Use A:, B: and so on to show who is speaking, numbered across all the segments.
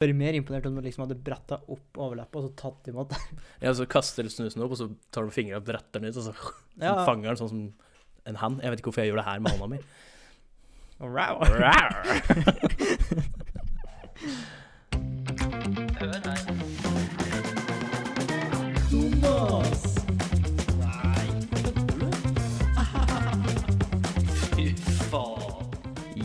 A: vært mer imponert om du liksom hadde bretta opp overleppa og så tatt imot.
B: Ja, så kaster du snusen opp, og så tar du fingrene og bretter den ut, og så
A: Ja.
B: fanger den sånn som en hand. Jeg vet ikke hvorfor jeg gjør det her med hånda mi.
A: Wow. Thomas!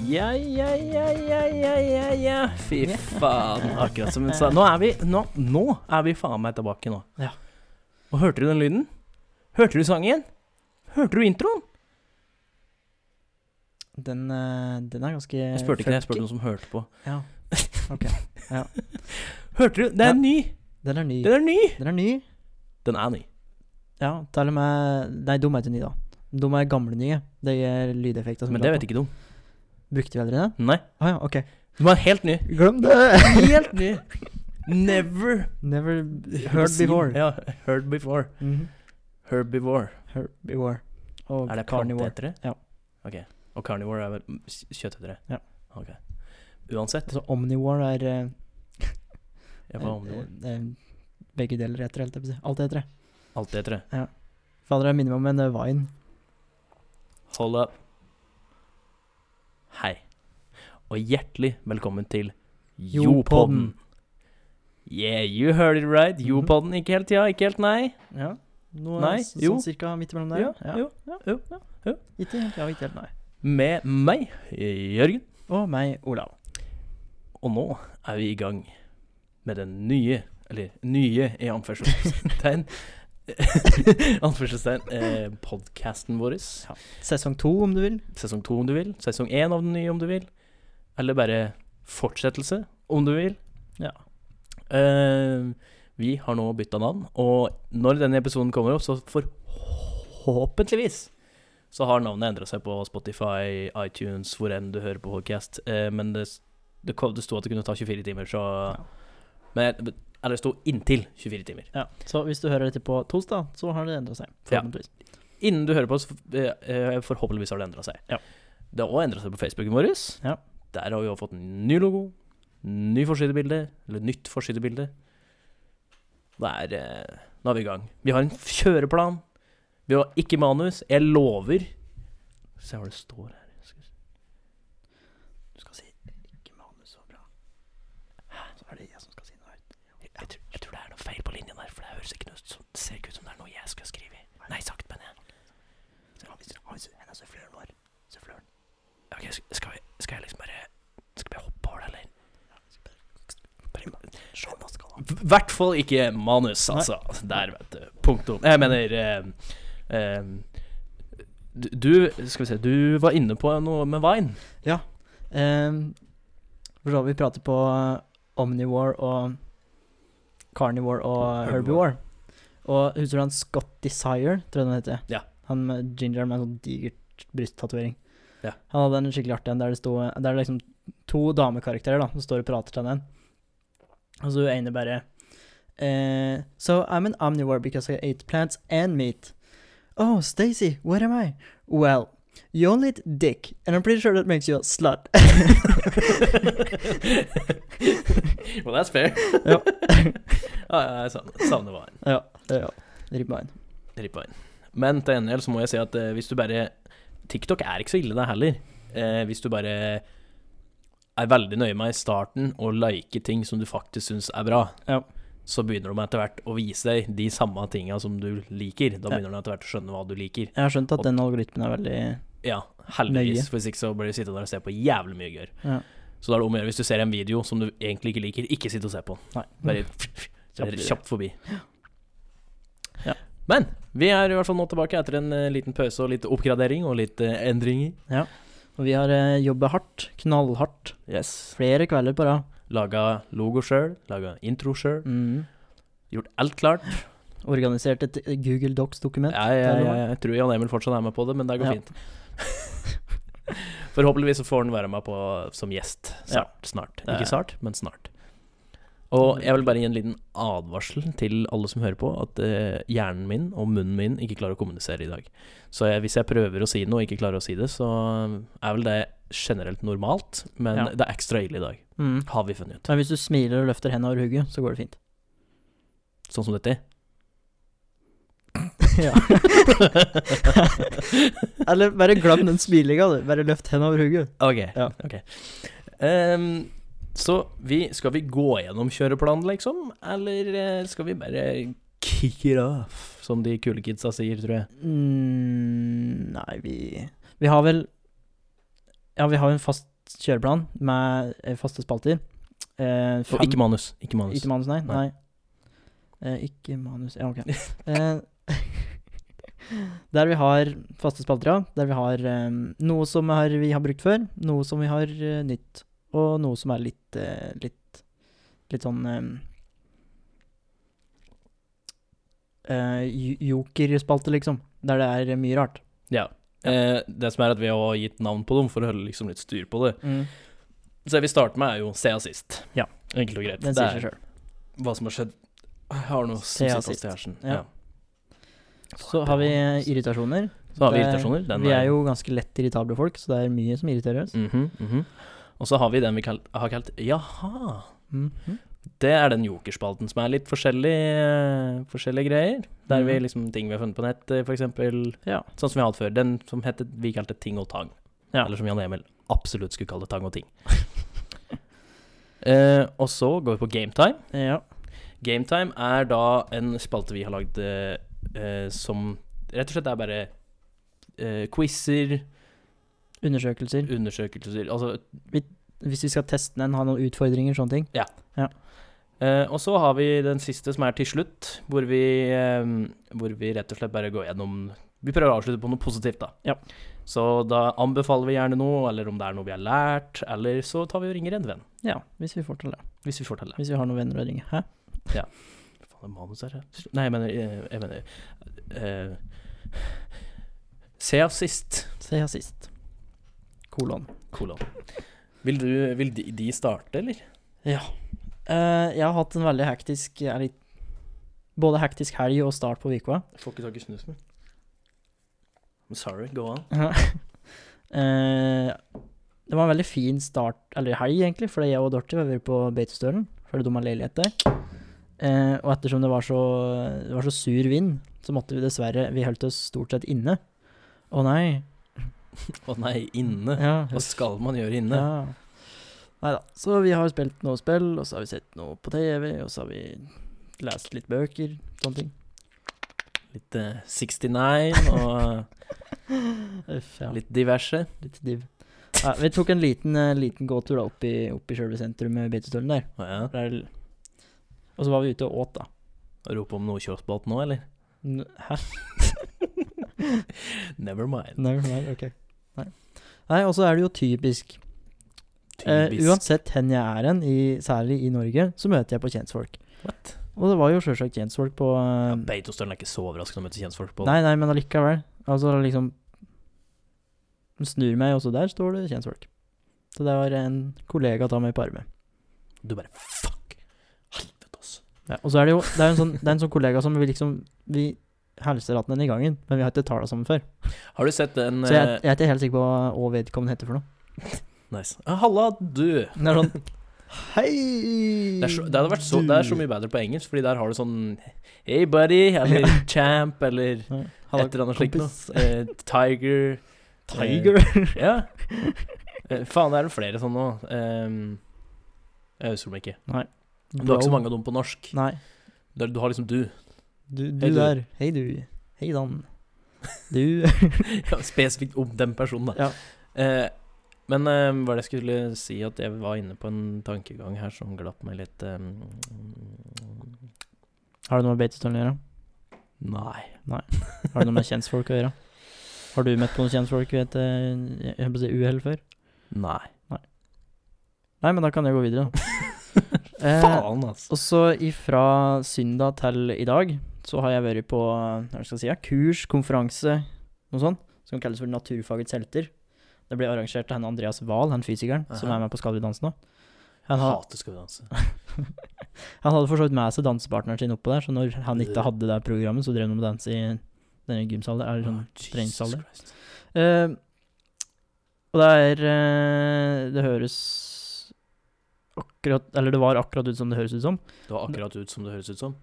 B: Ja, ja, ja, ja, ja, ja, ja. Fy faen, akkurat som hun sa. Nå er vi, nå, nå er vi faen meg tilbake nå.
A: Ja.
B: Og hørte du den lyden? Hørte du sangen? Hørte du introen?
A: Den, eh, den er ganske
B: Jeg spurte ikke, det, jeg spurte noen som hørte på.
A: Ja. Ok. Ja.
B: Hørte du? Den
A: Ja.
B: er ny!
A: Den er ny.
B: Den er ny!
A: Den er ny.
B: Den er ny.
A: Ja, til og med Nei, de er ikke nye, da. De er gamle nye. Det gir lydeffekter.
B: Men det vet ikke Ah, du om.
A: Brukte vi aldri den?
B: Nei.
A: Å ja, ok.
B: Den var helt ny.
A: Glem det!
B: Helt ny. Never
A: Never heard
B: seen-
A: before.
B: Ja, heard before.
A: Mhm.
B: Herbivore.
A: Heard before. Og
B: Er det
A: carnivore.
B: planteetere?
A: Ja.
B: Ok. Og carnivore er vel mm, s- kjøttetere?
A: Ja.
B: Ok. Uansett,
A: Altså omnivore er eh,
B: jeg var omnivore.
A: eh, eh, Begge deler heter det, helt jeg på å si. Alt heter det.
B: Alt heter det.
A: Fader, jeg minner meg om en eh, vine.
B: Hold up. Hei. Og hjertelig velkommen til
A: Jopodden. Mhm.
B: Jopodden. Yeah, you heard it right. Jopodden. Ikke helt ja, ikke helt nei.
A: Ja. Noe
B: Nei,
A: s-
B: jo.
A: sånn cirka midt imellom der.
B: jo, jo, jo.
A: Ikke helt ja, ikke helt nei.
B: Med meg, Jørgen.
A: Og meg, Olav.
B: Og nå er vi i gang med den nye, eller nye i anførselstegn, anførselstegn, eh, podcasten vår.
A: Sesong to, om du vil.
B: Sesong to om du vil, sesong én av den nye om du vil, eller bare fortsettelse om du vil.
A: Ja.
B: Eh, vi har nå bytta navn, og når denne episoden kommer opp, så forhåpentligvis så har navnet endra seg på Spotify, iTunes, hvor enn du hører på podcast. Eh, men det, s- det, kom- det sto at det kunne ta 24 timer, så
A: Ja.
B: Men jeg- eller det sto inntil 24 timer.
A: Ja. Så hvis du hører dette på torsdag, så har det endra seg.
B: Ja.
A: Forhåpentligvis.
B: Innen du hører på oss, eh, eh, forhåpentligvis har det endra seg.
A: Ja.
B: Det har òg endra seg på Facebooken vår.
A: Ja.
B: Der har vi også fått en ny logo, ny forsidebilde, eller nytt forsidebilde. Det er eh, Nå er vi i gang. Vi har en kjøreplan. Vi har ikke manus. Jeg lover Se hva det står her. Skal vi se.
A: Du skal si ikke manus så bra. Så er det jeg som skal si noe.
B: Jeg, jeg, tror, jeg tror det er noe feil på linjen der, for det høres ikke noe ut som Det ser ikke ut som det er noe jeg skulle skrive. Nei, sagt, men jeg.
A: Henne er suffløren vår. Suffløren.
B: Ok, sk- skal, jeg, skal jeg liksom bare Skal jeg bare hoppe over det, eller? I hvert fall ikke manus,
A: Nei.
B: altså. Der, vet du. Punktum. Jeg mener eh, eh, du- Du Skal vi se, du var inne på noe med Vine.
A: Ehm, For så vidt vi prater på eh, omnivore og carnivore og herbivore.
B: Herbivore.
A: Og husker du han Scott Desire, tror jeg han heter?
B: Ja.
A: Han med ginger med en sånn digert brysttatovering.
B: Ja.
A: Han hadde en skikkelig artig en der det sto Der det er liksom to damekarakterer da som står og prater til den. Og så hun ene bare eh, So I'm an omnivore because I ate plants and meat. Oh, Stacy, what am I? Well, you only eat dick, and I'm pretty sure that makes you a slut.
B: well, that's fair.
A: Ja.
B: ja, jeg savner, savner Vine.
A: Ja, ja. Ribbein.
B: Rippa inn. Men til gjengjeld så må jeg si at eh, hvis du bare TikTok er ikke så ille, det heller. Eh, hvis du bare er veldig nøye med i starten å like ting som du faktisk syns er bra,
A: Ja.
B: så begynner de etter hvert å vise deg de samme tinga som du liker. Da
A: Ja.
B: begynner de etter hvert å skjønne hva du liker.
A: Jeg har skjønt at den algoritmen er veldig
B: Ja,
A: Nøye.
B: heldigvis, for hvis ikke så blir du sittende der og se på jævlig mye gørr.
A: Ja.
B: Så da er det om å gjøre hvis du ser en video som du egentlig ikke liker, ikke sitt og se på den.
A: Nei.
B: Bare
A: Mm. Kjapt
B: kjapt, kjapt forbi.
A: Ja.
B: Men vi er i hvert fall nå tilbake etter en eh, liten pause og litt oppgradering og litt eh, endringer.
A: Og vi har eh, jobbet hardt, knallhardt,
B: Yes.
A: flere kvelder på rad.
B: Laga logo sjøl, laga intro sjøl,
A: Mm.
B: gjort alt klart.
A: Organisert et eh, Google Docs-dokument.
B: Jeg, jeg,
A: eller hva?
B: jeg, jeg tror Jan Emil fortsatt er med på det, men det går
A: Ja.
B: fint. Forhåpentligvis så får han være med på som gjest
A: Ja.
B: snart. snart.
A: Det er-
B: Ikke snart, men snart. Og jeg vil bare gi en liten advarsel til alle som hører på, at eh, hjernen min og munnen min ikke klarer å kommunisere i dag. Så jeg, hvis jeg prøver å si noe og ikke klarer å si det, så er vel det generelt normalt, men
A: Ja.
B: det er ekstra ille i dag,
A: Mm.
B: har vi funnet ut.
A: Men hvis du smiler og løfter hendene over hugget, så går det fint.
B: Sånn som dette.
A: Ja. Eller bare glem den smilinga, du. Bare løft hendene over hugget.
B: Ok.
A: Ja.
B: ok. Ehm, så vi, skal vi gå gjennom kjøreplanen, liksom? Eller eh, skal vi bare kick it off, som de kule kidsa sier, tror jeg.
A: Mm, nei, vi Vi har vel Ja, vi har en fast kjøreplan med eh, faste spalter. Eh,
B: Og
A: fem-
B: ikke manus. Ikke manus.
A: Ikke manus, nei?
B: Nei.
A: Nei. Eh, ikke manus Ja, ok. Eh, der vi har faste spalter, ja. Der vi har eh, noe som er, vi har brukt før, noe som vi har eh, nytt, og noe som er litt eh, litt, litt sånn eh, eh, jo- Jokerspalte, liksom. Der det er eh, mye rart.
B: Ja. Eh, det som er at vi har gitt navn på dem for å holde liksom litt styr på det. Så det vi starter med, er jo se assist.
A: Ja.
B: Enkelt og greit.
A: Den
B: Det
A: sier
B: er-
A: seg sjøl.
B: hva som har skjedd. Jeg har noe
A: Se
B: som sitter
A: assist.
B: fast i hersen.
A: Ja. Så har vi eh, irritasjoner.
B: Så har vi
A: Det-
B: irritasjoner. Den
A: Vi er jo ganske lett irritable folk, så det er mye som irriterer oss.
B: Mhm, mhm. Og så har vi den vi kal har kalt Jaha.
A: Mhm.
B: Det er den jokerspalten som er litt forskjellig, eh, forskjellige greier. Der vi
A: Mhm.
B: liksom ting vi har funnet på nett, eh, for eksempel.
A: Ja.
B: Sånn som vi har hatt før. Den som heter, vi kalte Ting og Tang.
A: Ja.
B: Eller som Jan Emil absolutt skulle kalle Tang og Ting. eh, og så går vi på Gametime.
A: Ja.
B: Gametime er da en spalte vi har lagd eh, eh, som rett og slett er bare eh, quizer,
A: Undersøkelser.
B: undersøkelser Altså
A: Hvis vi skal teste den, ha noen utfordringer, sånne ting.
B: Eh, og så har vi den siste som er til slutt, hvor vi, eh, hvor vi rett og slett bare går gjennom Vi prøver å avslutte på noe positivt, da.
A: Ja.
B: Så da anbefaler vi gjerne noe, eller om det er noe vi har lært, eller så tar vi og ringer en venn,
A: Ja, hvis vi får til det.
B: hvis vi får til det.
A: Hvis vi har noen venner å ringe. Hæ?
B: Faen, det er manus her, ja. Nei, jeg mener, eh, jeg mener eh, Se oss sist,
A: Se her sist. Kolon.
B: kolon. Vil, du, vil de, de starte, eller?
A: Eh, jeg har hatt en veldig hektisk er litt, Både hektisk helg og start på uka.
B: Jeg får ikke tak i snusen. I'm sorry, go on.
A: Eh, det var en veldig fin start, eller helg, egentlig, fordi jeg og Dorthy var på Beitostølen. Fordi de har leilighet der. Eh, og ettersom det var, så, det var så sur vind, så måtte vi dessverre Vi holdt oss stort sett inne. Å nei.
B: Å nei, inne.
A: Ja,
B: Hva skal man gjøre inne?
A: Ja. Nei da. Så vi har spilt noe spill, og så har vi sett noe på TV, og så har vi lest litt bøker, sånne ting.
B: Litt eh, 69 og
A: Uff, ja.
B: litt diverse.
A: Litt div. Ja, vi tok en liten, eh, liten gåtur da opp i, opp i sjølve sentrum med Beitostølen der.
B: Å ja.
A: Der l- Og så var vi ute og åt, da.
B: Rope om Nordkjosbåt nå, eller?
A: N- Hæ?
B: Never mind.
A: Nei, nei, ok. Nei, nei og så er det jo typisk. Eh,
B: Typisk.
A: uansett hen jeg er hen, i, særlig i Norge, så møter jeg på kjentfolk.
B: What?
A: Og det var jo sjølsagt kjentfolk på eh,
B: Ja, Beitostølen er ikke så overraskende å møte kjentfolk på.
A: Nei, nei, men allikevel. Altså liksom Snur meg, og så der står det kjentfolk. Så det var en kollega ta meg på armen.
B: Du bare fuck! Helvete, ass.
A: Og så er det jo Det er en sånn, det er en sånn kollega som vi liksom Vi hilser at den i gangen, men vi har ikke tala sammen før.
B: Har du sett den
A: Så jeg,
B: eh,
A: jeg er ikke helt sikker på hva hva vedkommende heter for noe.
B: Nice. Ah, Halla, du!
A: Men Det er sånn Hei!
B: Det, er så, det, hadde vært så, det er så mye bedre på engelsk, fordi der har du sånn Hey, buddy! Eller champ, eller et
A: Ja.
B: eller annet slikt noe.
A: kompis.
B: Eh, tiger.
A: Tiger.
B: Ja. Eh, faen, det er det flere sånne nå. Eh, jeg husker dem ikke. Du har ikke så mange av dem på norsk.
A: Nei.
B: Du, du har liksom du.
A: Du, du
B: Hei, du.
A: der. Hei, du. Hei, Dan. Du.
B: Ja, Spesifikt om den personen, da.
A: Ja.
B: Eh, men eh, hva er det jeg skulle si at jeg var inne på en tankegang her som glapp meg litt eh,
A: Har det noe med Beitostølen å gjøre?
B: Nei.
A: Har det noe med kjentfolk å gjøre? Har du møtt på noen kjentfolk ved et eh, jeg holdt på å si uhell før?
B: Nei.
A: Nei, men da kan jeg gå videre, da. eh,
B: Faen, altså.
A: og så ifra søndag til i dag, så har jeg vært på eh, hva skal jeg si, ja, kurs, konferanse, noe sånt, som kalles for Naturfagets helter. Det ble arrangert av han Andreas Wahl, han fysikeren, som
B: Aha.
A: er med på Skal vi danse nå. Han, ha,
B: Hater Skal vi danse.
A: han hadde for så vidt med seg dansepartneren sin oppå der, så når han ikke hadde det programmet, så drev han med å danse i denne gymsalen. Eller sånn
B: Jesus
A: treningsalder.
B: Christ.
A: Eh, Og det er eh, Det høres akkurat Eller det var akkurat ut som det høres ut som.
B: Det var akkurat ut som det høres ut som.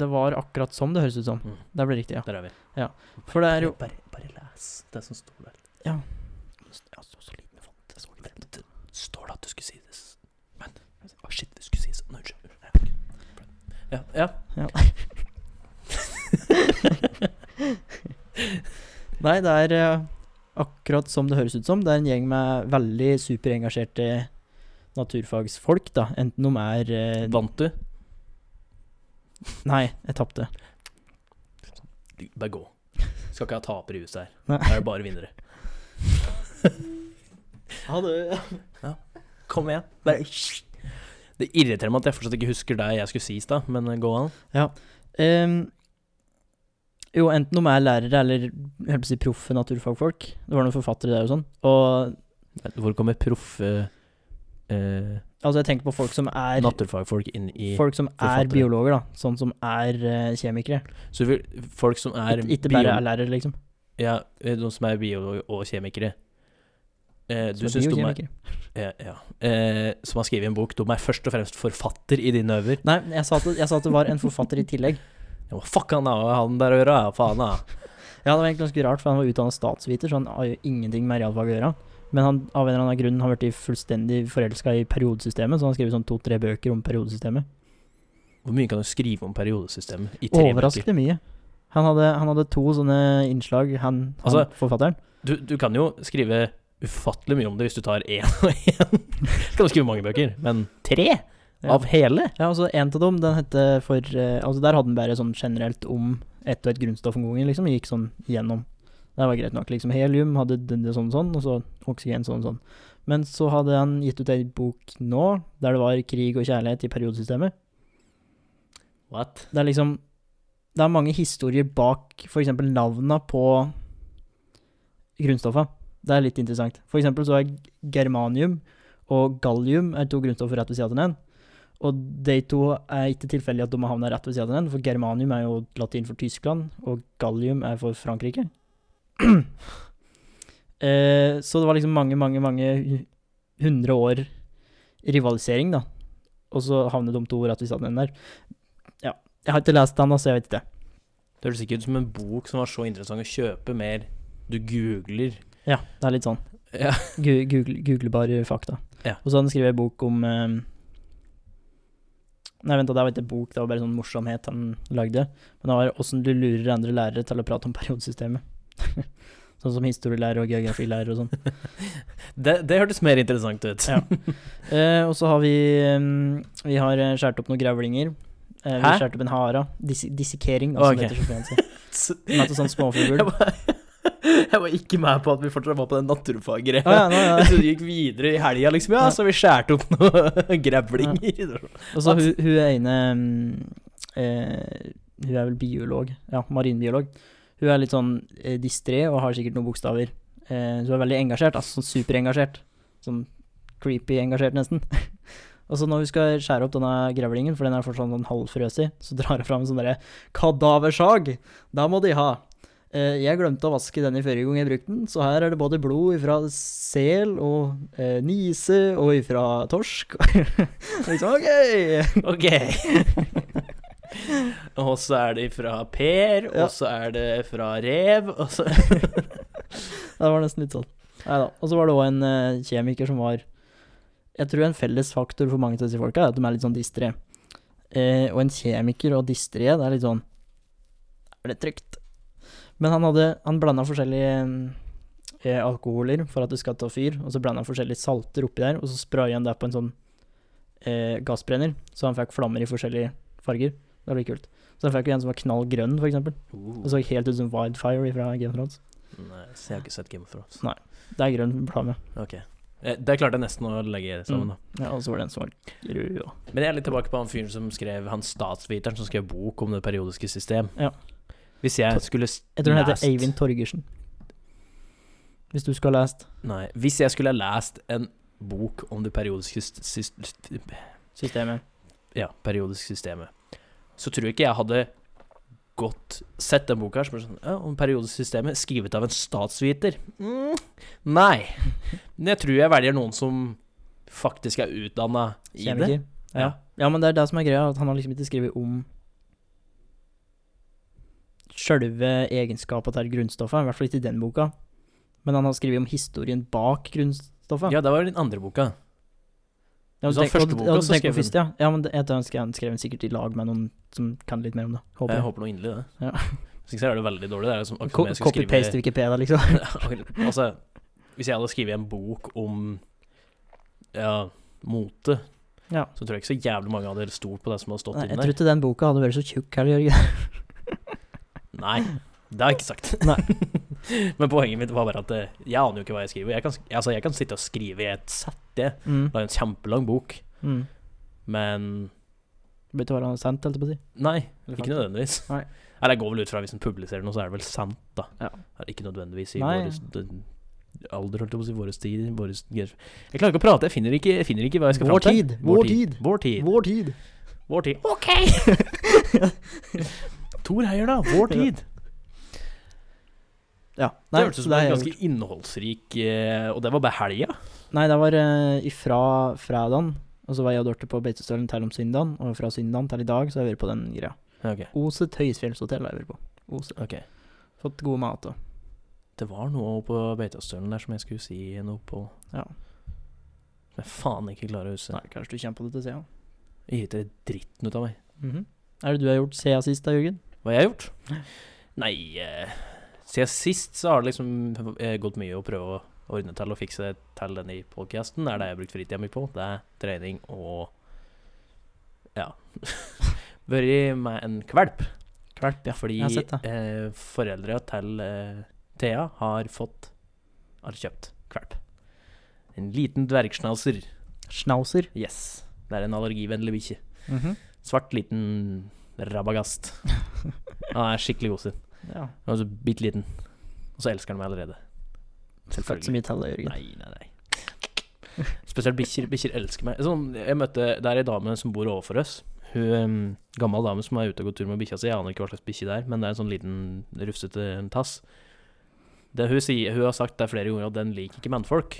A: Det var akkurat som det høres ut som.
B: Mm.
A: Det ble riktig, ja.
B: Der er vi.
A: Ja, for det er jo-
B: Bare, bare les det som står der.
A: Ja.
B: Ja, så, så liten font. Jeg så ikke det. Det står det at du skulle si det. s- Men Å, shit, du skulle si sånn. Unnskyld. Ja. ja.
A: Nei, det er eh, akkurat som det høres ut som. Det er en gjeng med veldig superengasjerte naturfagsfolk, da. Enten de er eh,
B: Vant du?
A: Nei, jeg tapte.
B: Du, Bare gå. Skal ikke ha tapere i huset her.
A: Nei.
B: Her er det bare vinnere.
A: Ha det.
B: Kom igjen. Bare Det irriterer meg at jeg fortsatt ikke husker det jeg skulle si i stad, men eh, gå an.
A: Ehm, jo, enten de er lærere eller jeg holdt på å si, proffe naturfagfolk. Det var noen forfattere der og sånn. Og
B: Hvor kommer proffe eh,
A: altså, jeg tenker på folk som er
B: naturfagfolk inn i
A: Folk som er
B: forfattere.
A: biologer, da. Sånn som er eh, kjemikere.
B: Så du vil- folk som er
A: Ik- ikke
B: bio-
A: bare er lærere, liksom.
B: Ja, noen som er biolog og kjemikere. Eh, du
A: Som er
B: syns de er
A: biokjemikere.
B: ja, ja. Eh, Som har skrevet en bok. De er først og fremst forfatter i dine øver.
A: Nei, jeg sa, at, det- jeg sa at det var en forfatter i tillegg.
B: Ja, hva fuck han da, han der øra, ja, faen da.
A: Ja, det var egentlig ganske rart, for han var utdannet statsviter, så han har jo ingenting med realfag å gjøre. Men han, av en eller annen grunn har blitt fullstendig forelska i periodesystemet, så han har skrevet sånn to-tre bøker om periodesystemet.
B: Hvor mye kan du skrive om periodesystemet i tre bøker?
A: Overraskende mye. Han hadde, han hadde to sånne innslag, han, han
B: Altså-
A: forfatteren.
B: Du, du kan jo skrive ufattelig mye om det hvis du tar én og én. Kan du skrive mange bøker, men tre
A: Ja.
B: av hele?
A: Ja, og så en av dem, den hette for eh, Altså, der hadde han bare sånn generelt om ett og ett grunnstoff om gangen, liksom. Gikk sånn gjennom. Det var greit nok, liksom. Helium hadde den- det sånn sånn, og så oksygen sånn sånn. Men så hadde han gitt ut ei bok nå, der det var krig og kjærlighet i periodesystemet.
B: What?
A: Det er liksom Det er mange historier bak f.eks. navna på grunnstoffa. Det er litt interessant. For eksempel så er germanium og gallium er to grunnstoffer rett ved siden av hverandre. Og de to er ikke tilfeldig at de har havna rett ved siden av hverandre, for germanium er jo latin for Tyskland, og gallium er for Frankrike. eh, så det var liksom mange, mange, mange hu- hundre år rivalisering, da. Og så havnet de to rett ved siden av hverandre. Ja. Jeg har ikke lest den, altså, jeg vet ikke.
B: Det høres ikke ut som en bok som var så interessant å kjøpe mer du googler.
A: Ja, det er litt sånn.
B: Ja.
A: Gu- Google, googlebare fakta.
B: Ja.
A: Og så hadde han skrevet en bok om eh, Nei, vent, da, det var ikke en bok, det var bare sånn morsomhet han lagde. Men det var 'Åssen du lurer andre lærere til å prate om periodesystemet'. sånn som historielærer og geografilærer og sånn.
B: Det, det hørtes mer interessant ut.
A: Ja. Eh, og så har vi eh, Vi har eh, skåret opp noen grevlinger. Eh, vi
B: Hæ?
A: har skåret opp en hare. Dis dissekering, da, som
B: Ok.
A: det heter så fint. Den heter sånn småfugl.
B: Jeg var, jeg var ikke med på at vi fortsatt var på den naturfaggreia.
A: Å, ja, nei, nei.
B: Jeg trodde vi gikk videre i helga, liksom. Ja,
A: Ja.
B: så vi skjærte opp noen grevlinger.
A: Og så
B: At-
A: hun, hun ene mm, eh, Hun er vel biolog. Ja, marinbiolog. Hun er litt sånn eh, distré og har sikkert noen bokstaver. Eh, hun er veldig engasjert, altså sånn superengasjert. Sånn creepy engasjert, nesten. Og så når hun skal skjære opp denne grevlingen, for den er fortsatt sånn halvfrøsig, så drar hun fram en sånn derre kadaversag! Da må de ha! Eh, jeg glemte å vaske den i forrige gang jeg brukte den, så her er det både blod ifra sel og eh, nise og ifra torsk. liksom, ok!
B: Ok. Og så er det fra Per,
A: Ja.
B: og så er det fra rev, og så
A: Det var nesten litt sånn. Neida. Og så var det òg en eh, kjemiker som var Jeg tror en felles faktor for mange av disse folka er at de er litt sånn distré. Eh, og en kjemiker og distré, det er litt sånn Er det trygt? Men han hadde Han blanda forskjellige eh, alkoholer for at det skal ta fyr, og så blanda han forskjellige salter oppi der, og så spraya han det på en sånn eh, gassbrenner, så han fikk flammer i forskjellige farger. Det var litt kult. Så han fikk jo en som var knall grønn, for eksempel. Det
B: uh,
A: så helt ut som Wildfire fra Game of Thrones.
B: Nei, så jeg har ikke sett Game of Thrones.
A: Det er grønn flamme.
B: Eh, Det klarte jeg nesten å legge sammen. da.
A: Ja, og så var det en som var grød og
B: Men jeg er litt tilbake på han fyren som skrev Han statsviteren som skrev bok om det periodiske system.
A: Ja.
B: Hvis jeg skulle s-
A: Jeg tror den heter
B: lest-
A: Eivind Torgersen. Hvis du skulle ha lest
B: Nei. Hvis jeg skulle ha lest en bok om det periodiske syst- syst-
A: systemet.
B: ja, periodisk systemet, så tror jeg ikke jeg hadde godt sett den boka her, som er sånn, ja, om periodisk systemet, skrevet av en statsviter. Mm. Nei. Men jeg tror jeg velger noen som faktisk er utdanna i det.
A: Kjemiker. Ja. ja, men det er det som er greia, at han har liksom ikke skrevet om sjølve egenskapene til grunnstoffet, i hvert fall ikke i den boka. Men han har skrevet om historien bak grunnstoffet.
B: Ja, det var den andre boka.
A: Ja,
B: du sa
A: tenk-
B: første
A: og-
B: boka,
A: og
B: så
A: tenk på
B: skrev han-
A: første, ja. ja, men det- jeg tror han skrev, han skrev den sikkert i lag med noen som kan litt mer om det. Håper
B: Jeg
A: jeg.
B: håper noe inderlig det.
A: Ja.
B: Hvis ikke så er det veldig dårlig. Det er liksom akkurat
A: Co-
B: som jeg skal skrive-
A: Copy-paste Wikipedia, liksom.
B: altså, hvis jeg hadde skrevet en bok om ja, mote,
A: Ja.
B: så tror jeg ikke så jævlig mange hadde stolt på det som hadde stått
A: Nei, jeg
B: inni
A: tror
B: der.
A: ikke den boka hadde vært så tjukk heller, Jørgen.
B: Nei, det har jeg ikke sagt.
A: Nei.
B: Men poenget mitt var bare at eh, jeg aner jo ikke hva jeg skriver. Jeg kan, sk- altså, jeg kan sitte og skrive i et sett, det.
A: Mm.
B: Det er en kjempelang bok,
A: Mm.
B: men
A: Burde ikke være noe sant, holdt jeg på å si.
B: Nei, ikke nødvendigvis.
A: Nei.
B: Eller jeg går vel ut fra hvis en publiserer noe, så er det vel sant, da.
A: Ja.
B: Er det ikke nødvendigvis i
A: Nei.
B: vår alder, holdt jeg på å si, vår tid vår Jeg klarer ikke å prate, jeg finner ikke, jeg finner ikke hva jeg skal
A: Vår
B: fram til.
A: tid, vår
B: Vår tid.
A: tid.
B: Vår tid.
A: Vår tid.
B: Vår tid. Ok! Tor Heier, da. Vår tid.
A: Ja.
B: det
A: Nei,
B: hørtes ut
A: så
B: som
A: det har
B: en
A: jeg
B: ganske innholdsrik eh, Og det var bare helga.
A: Nei, det var eh, ifra fredagen, og så var jeg og Dorte på Beitostølen til om søndagen, og fra søndagen til i dag så har jeg vært på den greia.
B: Ok.
A: Oset Høyesfjellshotell har jeg vært på. Oset.
B: Ok.
A: Fått god mat og
B: Det var noe på Beitostølen der som jeg skulle si noe på.
A: Ja.
B: Som jeg faen ikke klarer å huske.
A: Nei, kanskje du kommer på det til sida.
B: Jeg irriterer dritten ut av meg.
A: Mhm. Er det du har gjort siden sist da, Jørgen?
B: Hva jeg har gjort? Nei eh, Siden sist så har det liksom eh, gått mye å prøve å ordne til og fikse til denne podkasten. Det er det jeg har brukt fritida mi på. Det er trening og Ja. Vært med en kvalp.
A: Kvalp, ja.
B: Fordi
A: jeg har sett det.
B: eh, foreldra til eh, Thea har fått Har kjøpt kvalp. En liten dvergschnauzer.
A: Schnauzer.
B: Yes. Det er en allergivennlig bikkje. Mhm. Svart, liten rabagast. Han er skikkelig god sin.
A: Ja.
B: Han er så bitte liten. Og så elsker han meg allerede.
A: Født så mye til det, Jørgen.
B: Nei, nei, nei. Spesielt bikkjer. Bikkjer elsker meg. Sånn, jeg møtte, Det er ei dame som bor overfor oss. Hun um, Gammel dame som er ute og går tur med bikkja si. Jeg aner ikke hva slags bikkje det er, men det er en sånn liten rufsete tass. Det hun, sier, hun har sagt det flere ganger at den liker ikke mannfolk.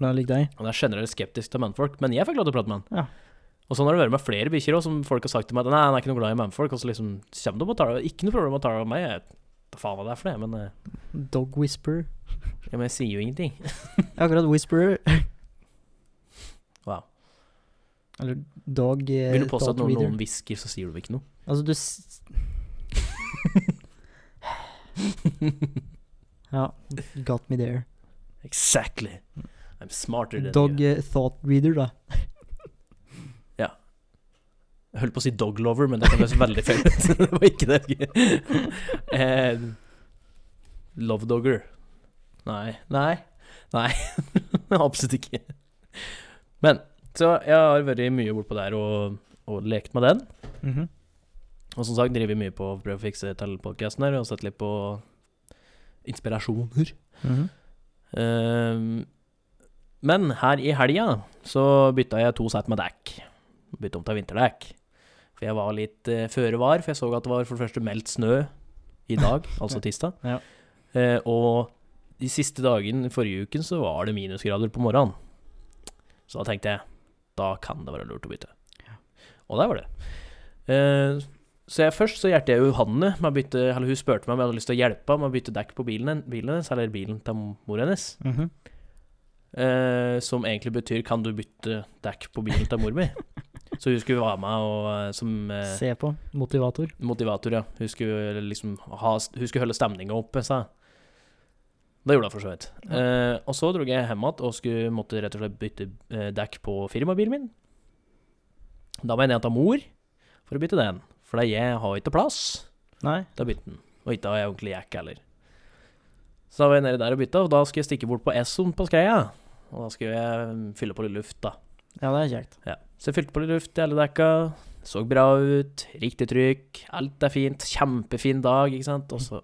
A: Men jeg liker deg.
B: Han er generelt skeptisk til mannfolk, men jeg fikk lov til å prate med han.
A: Ja.
B: Og sånn har det vært med flere bikkjer òg, som folk har sagt til meg at nei, han er ikke noe glad i mannfolk. Og så liksom kommer de og tar det. Ikke noe problem å ta det av meg. Jeg vet da faen hva det er for det, men, eh,
A: Dog whisperer.
B: ja, men jeg sier jo ingenting.
A: Akkurat whisperer.
B: Wow.
A: Eller dog eh,
B: Vil du påstå at
A: thought
B: når
A: reader.
B: noen hvisker, så sier du ikke noe?
A: Altså, du s Ja. Got me there.
B: Exactly. I'm smarter than
A: Dog
B: you.
A: eh, thought reader, da.
B: Jeg holdt på å si dog lover, men det kom nesten veldig feil ut. det var ikke det. eh, love dogger. Nei. Nei. Nei. Absolutt ikke. Men så jeg har vært mye bortpå der og, og lekt med den.
A: Mhm.
B: Og som sagt driver mye på å prøve å fikse til podcasten her, og sett litt på inspirasjoner.
A: Mhm.
B: Ehm, men her i helga så bytta jeg to sett med dekk. Bytta om til vinterdekk. For jeg var litt uh, føre var, for jeg så at det var for det første meldt snø i dag, altså tirsdag.
A: Ja.
B: Eh, og de siste dagene forrige uken så var det minusgrader på morgenen. Så da tenkte jeg da kan det være lurt å bytte. Og der var det. Eh, så jeg først så hjertet jeg Johanne med å bytte, eller hun spurte meg om jeg hadde lyst til å hjelpe henne med å bytte dekk på bilen, hen- bilen hennes, eller bilen til mor hennes.
A: Mhm.
B: Eh, som egentlig betyr 'kan du bytte dekk på bilen til mor mi'? Så hun skulle være med og, eh, som eh,
A: Se på. Motivator.
B: motivator, ja. Hun skulle liksom ha, hun skulle holde stemninga oppe, sa jeg. Det gjorde hun for så vidt.
A: Ja.
B: Eh, og så dro jeg hjem igjen og skulle måtte rett og slett bytte eh, dekk på firmabilen min. Da mener jeg ta mor for å bytte den, for jeg har ikke plass.
A: Nei.
B: Da bytte den. Og ikke har jeg ordentlig jack heller. Så da var jeg nede der og bytta, og da skulle jeg stikke bort på Esson på Skreia. Og da skulle jeg mm, fylle på litt luft, da.
A: Ja, det er kjekt.
B: Ja. Så jeg fylte på litt luft i alle dekka. Så bra ut. Riktig trykk. Alt er fint. Kjempefin dag, ikke sant. Og så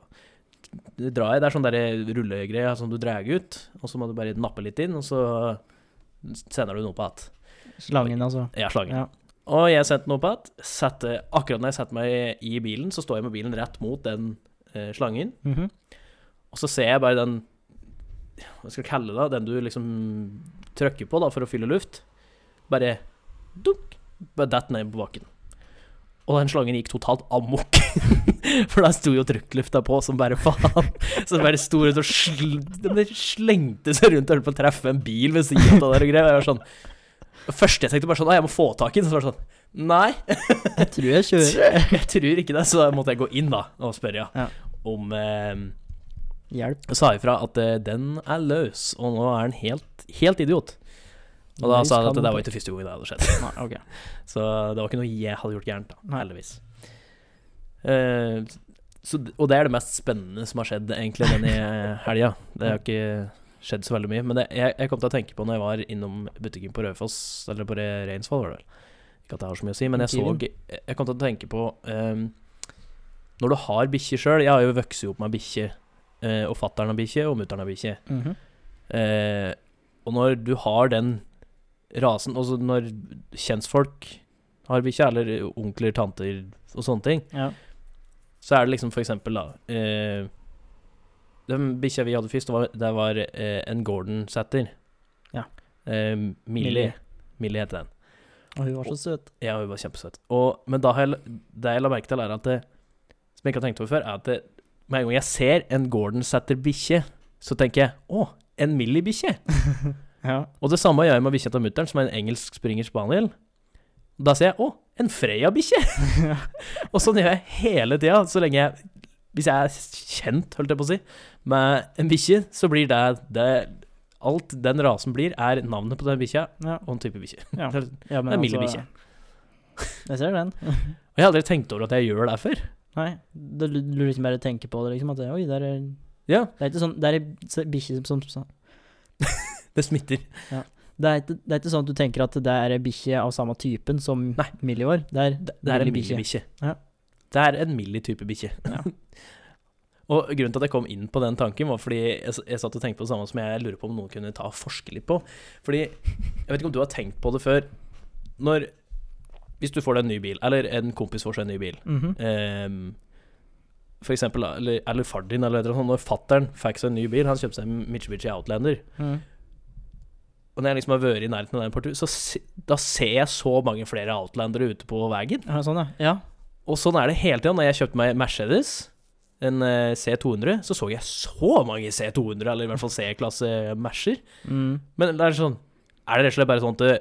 B: drar jeg. Det er sånn der rullegreie som du drar ut, og så må du bare nappe litt inn, og så sender du den opp igjen.
A: Slangen, altså.
B: Jeg er slangen.
A: Ja.
B: Og jeg sendte den opp igjen. Sette- Akkurat når jeg setter meg i bilen, så står jeg med bilen rett mot den eh, slangen.
A: Mhm.
B: Og så ser jeg bare den hva skal jeg kalle det, den du liksom trykker på da, for å fylle luft, bare dunk, bare datt ned på bakken. Og den slangen gikk totalt amok. For da sto jo trykklufta på som bare faen. Så den bare sto rundt og sl den bare slengte seg rundt og holdt på å treffe en bil ved siden av der og greier. Og jeg var sånn Det første jeg tenkte, bare sånn Å, jeg må få tak i den. Så var det sånn Nei.
A: Jeg tror jeg kjører.
B: Jeg tror ikke det, så da måtte jeg gå inn da og spørre ja.
A: Ja.
B: om eh,
A: Hjelp.
B: Sa ifra at eh, den er løs, og nå er den helt, helt idiot. Og da
A: Nei,
B: sa jeg at
A: skal
B: det der
A: på-
B: var ikke første gang det hadde skjedd.
A: Nei, ok.
B: Så det var ikke noe jeg hadde gjort gærent, da,
A: Nei.
B: heldigvis. Eh, så, d- og det er det mest spennende som har skjedd egentlig denne helga. Det har ikke skjedd så veldig mye. Men det, jeg, jeg kom til å tenke på når jeg var innom butikken på Raufoss, eller på Re- Reinsvoll, var det vel. Ikke at det har så mye å si, men jeg så
A: Kiwien.
B: Jeg kom til å tenke på eh, Når du har bikkje sjøl Jeg har jo vokst opp med bikkje, eh, og fattern har bikkje, og mutter'n har bikkje.
A: Mhm.
B: Eh, og når du har den rasen Altså når kjentfolk har bikkje, eller onkler, tanter og sånne ting,
A: Ja.
B: så er det liksom for eksempel, da eh, Den bikkja vi hadde først, det var, det var eh, en Gordon Setter.
A: Ja.
B: Eh, Millie.
A: Millie.
B: Millie heter den.
A: Og hun var så søt.
B: Ja, hun var kjempesøt. Og, men da har jeg, det jeg la merke til, er at det, Som jeg ikke har tenkt over før, er at det, med en gang jeg ser en Gordon setter bikkje, så tenker jeg Å, en Millie-bikkje!
A: Ja.
B: Og det samme gjør jeg med bikkja til mutter'n, som er en engelsk springer spaniel. Da sier jeg 'Å, en Freya-bikkje'! og sånn gjør jeg hele tida, så lenge jeg Hvis jeg er kjent, holdt jeg på å si, med en bikkje, så blir det, det Alt den rasen blir, er navnet på den bikkja
A: ja.
B: og en type bikkje.
A: Ja.
B: Det er-
A: ja men altså-
B: Det er milde bikkje.
A: Jeg ser den.
B: Og jeg har aldri tenkt over at jeg gjør det før.
A: Nei. Du, du du liksom bare tenker på det, liksom. At det- oi, der er
B: Ja.
A: Det er ikke sånn Det er ei se- bikkje som, som
B: Det smitter.
A: det er, ikke, det er ikke sånn at du tenker at det er ei bikkje av samme typen som
B: Nei.
A: Millie var. Det er,
B: Det, det er en
A: Millie bikkje.
B: millie-bikkje.
A: Ja.
B: Det er en millie-type bikkje.
A: Ja.
B: og grunnen til at jeg kom inn på den tanken, var fordi jeg, s- jeg satt og tenkte på det samme som jeg lurer på om noen kunne ta og forske litt på. Fordi Jeg vet ikke om du har tenkt på det før. Når Hvis du får deg en ny bil, eller en kompis får seg en ny bil
A: Mhm.
B: ehm, For eksempel, da, eller, eller far din, eller et eller annet sånt. Når fattern fikk seg en ny bil, han kjøpte seg en Mitsubishi Outlander.
A: Mhm.
B: Og når jeg liksom har vært i nærheten av den partout, så se, da ser jeg så mange flere Outlandere ute på veien.
A: Ja, sånn, ja. ja.
B: Og sånn er det hele tida. Når jeg kjøpte meg Mercedes, en eh, C200, så så jeg så mange C200, eller i hvert fall C-klasse Mercer.
A: Mm.
B: Men det er sånn Er det rett og slett bare sånn at eh,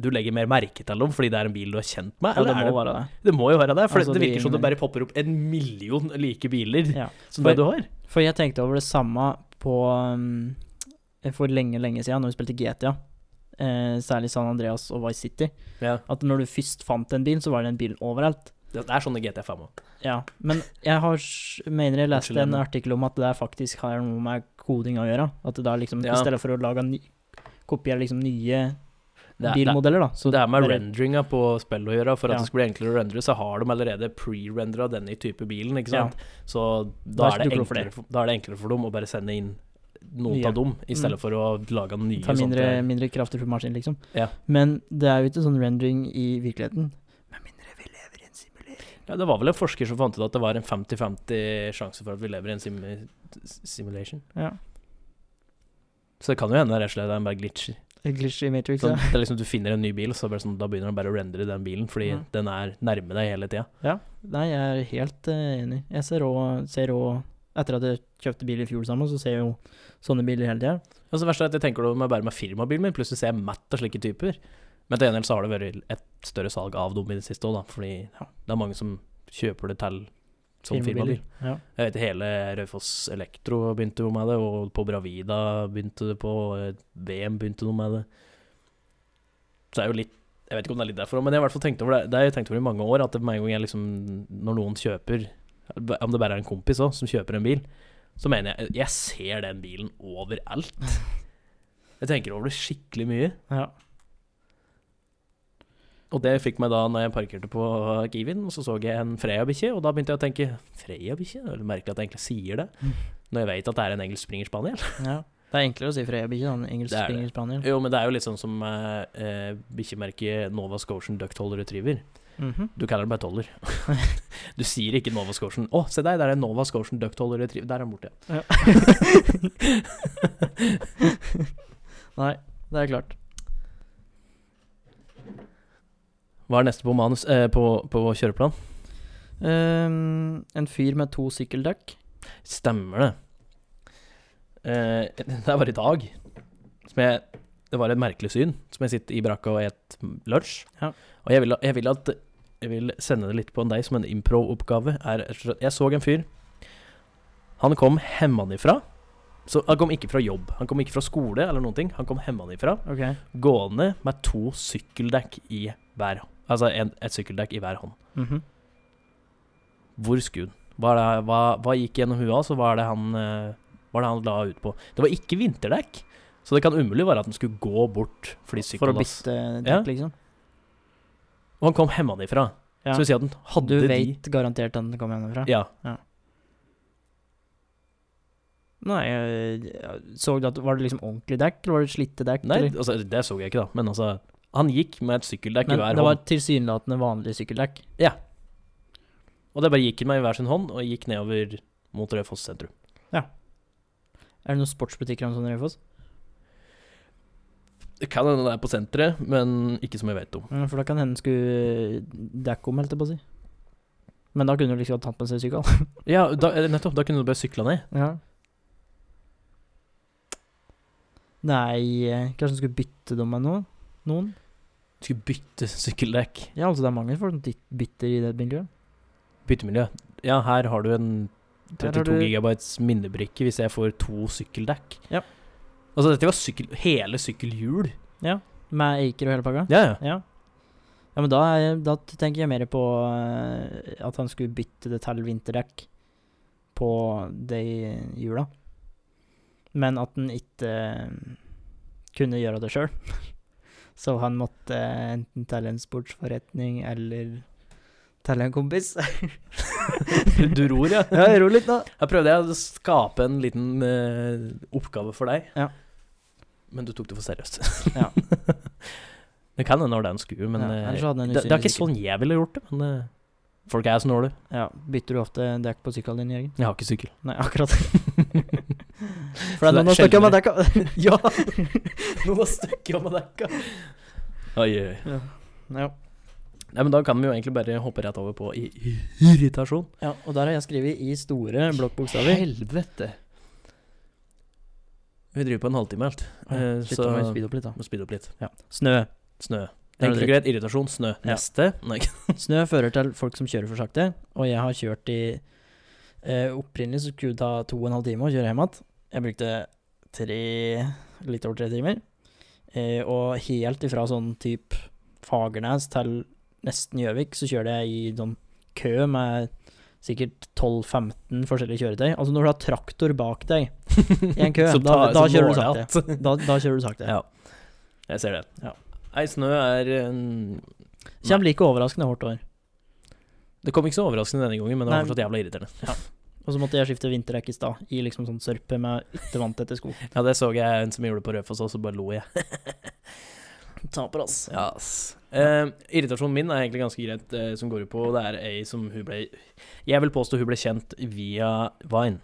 B: du legger mer merke til dem fordi det er en bil du er kjent med?
A: ja det
B: Eller
A: må
B: er
A: være det.
B: det må jo være det, for
A: Altså,
B: det
A: det gir
B: virker som det
A: ingen
B: bare popper opp en million like biler
A: Ja.
B: som det du har.
A: For jeg tenkte over det samme på um, For lenge, lenge siden, når vi spilte GTA. Eh, særlig San Andreas og Vice City.
B: Ja.
A: At når du først fant en bil, så var den bilen overalt.
B: Det det er sånn i GT5 òg.
A: Ja, men jeg har, s- mener jeg leste
B: Unnskyld,
A: en
B: Emma.
A: artikkel om at det der faktisk har noe med koding å gjøre. At det da liksom,
B: Ja.
A: i stedet for å lage ny, kopiere liksom nye
B: Det er-
A: bilmodeller, da. Så
B: Det er med
A: bare-
B: rendringa på spillet å gjøre. For at
A: Ja.
B: det skal bli enklere å rendere, så har de allerede pre-rendra denne type bilen. ikke
A: Ja.
B: sant? Så
A: Da
B: da
A: er
B: er, det
A: ikke du god for
B: enklere, for, da er det enklere for dem å bare sende inn noen
A: Nye.
B: av dem, i stedet
A: Mm.
B: for å lage nye.
A: Ta mindre,
B: sånne-
A: mindre kraftig maskin, liksom.
B: Ja.
A: Men det er jo ikke sånn rendering i virkeligheten.
B: ja, det var vel en forsker som fant ut at det var en 50-50 sjanse for at vi lever i en sim simulation.
A: Ja.
B: Så det kan jo hende rett og slett den bare glitcher.
A: En Glitch i Matrix,
B: Sånn,
A: ja.
B: det er liksom Du finner en ny bil, og så er det bare sånn, da begynner den bare å rendere den bilen, fordi
A: Mm.
B: den er nærme deg hele tida.
A: Nei, jeg er helt eh, enig. Jeg ser òg ser også- Etter at jeg kjøpte bil i fjor sammen, så ser jeg jo sånne biler hele tida.
B: Og så verst er at jeg tenker det med bare med firmabilen min, plutselig ser jeg matt av slike typer. Men til gjengjeld så har det vært et større salg av dem i det siste òg, da. Fordi
A: Ja.
B: det er mange som kjøper det til som firmabil.
A: Firmabiler. Ja.
B: Jeg vet hele Raufoss Elektro begynte jo med det, og på Bravida begynte det på, og eh, VM begynte noe med det. Så det er jo litt Jeg vet ikke om det er litt derfor òg, men jeg har i hvert fall tenkt over det. Det har jeg tenkt over i mange år, at det med en gang jeg liksom Når noen kjøper Om det bare er en kompis òg, som kjøper en bil, så mener jeg Jeg ser den bilen overalt. Jeg tenker over det skikkelig mye.
A: Ja.
B: Og det fikk meg da når jeg parkerte på Kiwien, og så så jeg en Freia-bikkje, og da begynte jeg å tenke Freia-bikkje? Det er merkelig at jeg egentlig sier det,
A: Mm.
B: når jeg vet at det er en engelsk springer spaniel.
A: ja. Det er enklere å si Freia-bikkje enn sånn engelsk
B: Det er det.
A: springer spaniel.
B: Jo, men det er jo litt sånn som eh, eh, bikkjemerket Nova Scotian Ducktoll Retriever.
A: Mhm.
B: Du kaller den bare toller. du sier ikke Nova Scotian. Å, se der, der er Nova Scotian ducktoller retriever. Der er den borte.
A: Ja. Nei, det er klart.
B: Hva er neste på manus eh, på, på kjøreplan?
A: Ehm, en fyr med to sykkeldekk.
B: Stemmer det. Eh, det var i dag. Som jeg, det var et merkelig syn. Som jeg sitter i brakka og et lunsj.
A: Ja.
B: Og jeg vil, jeg vil at Jeg vil sende det litt på deg som en impro-oppgave. Er- Jeg så en fyr. Han kom hemmanifra. Så han kom ikke fra jobb. Han kom ikke fra skole eller noen ting. Han kom hemmanifra.
A: Ok.
B: gående med to sykkeldekk i hver Altså en, et sykkeldekk i hver hånd.
A: Mhm.
B: Hvor skulle hun? Hva, er det- hva, hva gikk gjennom huet hans, og hva er det han eh, Hva er det han la ut på? Det var ikke vinterdekk, så det kan umulig være at han skulle gå bort
A: For
B: fordi
A: å
B: sykkelen hans
A: bytte dekk,
B: Ja.
A: liksom.
B: Og han kom hemmanifra.
A: Ja.
B: Så vil si at han hadde
A: Du
B: de
A: vet garantert at den kommer hjemmefra?
B: Ja.
A: Nei, jeg, jeg så du at Var det liksom ordentlig dekk, eller var det slitte dekk?
B: Nei,
A: eller?
B: altså, det så jeg ikke, da, men altså Han gikk med et sykkeldekk i
A: Men
B: hver
A: det var
B: hånd,
A: tilsynelatende vanlig sykkeldekk.
B: og det bare gikk med i hver sin hånd, og gikk nedover mot Raufoss sentrum.
A: Er det noen sportsbutikker om sånn i Raufoss?
B: Det kan hende det er på senteret, men ikke som jeg vet om.
A: Ja, Mm, For da kan hende den skulle dekke om, holdt jeg på å si. Men da kunne du liksom tatt med seg sykkel.
B: Ja, da, eh, nettopp. Da kunne du bare sykla ned.
A: Ja. Nei, eh, kanskje den skulle bytte dem med noen? Noen?
B: skulle bytte sykkeldekk.
A: Ja, altså det er mange folk som dyt- bytter i det miljøet.
B: Byttemiljø. Ja, her har du en
A: Der har du-
B: 32 gigabytes minnebrikke hvis jeg får to sykkeldekk.
A: Ja.
B: Altså, dette var sykkel, hele sykkelhjul.
A: Med Eiker og hele pakka?
B: Ja, ja.
A: Ja. Ja, men da, er, da tenker jeg mer på eh, at han skulle bytte det til vinterdekk på de hjula. Men at han ikke eh, kunne gjøre det sjøl. Så han måtte eh, enten til en sportsforretning eller til en kompis.
B: Du ror, ja.
A: ja, ro litt nå.
B: Her prøvde jeg å skape en liten eh, oppgave for deg.
A: Ja.
B: Men du tok det for seriøst.
A: Ja.
B: det kan hende det var det han skulle, men
A: Ja,
B: eh,
A: ellers hadde han
B: det, det er
A: usynlig
B: ikke sånn jeg ville gjort det. Men eh, folk er snåle.
A: Ja, Bytter du ofte dekk på sykkelen din, Jørgen?
B: Jeg har ikke sykkel.
A: Nei, akkurat. For det
B: Så
A: er
B: det er
A: noen som snakker med
B: sjeldnere.
A: dekka.
B: ja! Noen har stukket av med dekka. Oi, oi, oi.
A: Ja.
B: Nei, men da kan vi jo egentlig bare hoppe rett over på i irritasjon.
A: ja, og der har jeg skrevet i store blokkbokstaver.
B: Helvete! Vi driver på en halvtime helt. Eh,
A: Slutt
B: så
A: å
B: må
A: speede opp litt, da.
B: speede opp litt.
A: Snø.
B: Snø.
A: Det er
B: Enkelt og greit. Irritasjon. Snø.
A: Ja.
B: Neste. Nei.
A: Snø fører til folk som kjører for sakte, og jeg har kjørt i eh, Opprinnelig så skulle det ta to og en halv time å kjøre hjem igjen. Jeg brukte tre, litt over tre timer. Eh, og helt ifra sånn type Fagernes til nesten Gjøvik, så kjørte jeg i sånn kø med sikkert 12-15 forskjellige kjøretøy. Altså når du har traktor bak deg, I en kø,
B: Som
A: da-
B: tar-
A: da
B: som
A: kjører du
B: måler
A: sakte.
B: alt.
A: da, da kjører du sakte.
B: Ja. Jeg ser det.
A: Ja.
B: Nei, snø er eh,
A: Kjem like overraskende hardt år.
B: Det kom ikke så overraskende denne gangen, men det
A: Nei.
B: var fortsatt jævla irriterende.
A: Og så måtte jeg skifte vinterdekk i stad, i liksom sånn sørpe med yttervanntette sko.
B: Ja, det så jeg en som gjorde det på Rødfoss, og så bare lo jeg.
A: Taper, ass.
B: Ja, ass. Eh, irritasjonen min er egentlig ganske greit, eh, som går ut på Det er ei som hun ble Jeg vil påstå hun ble kjent via Vine.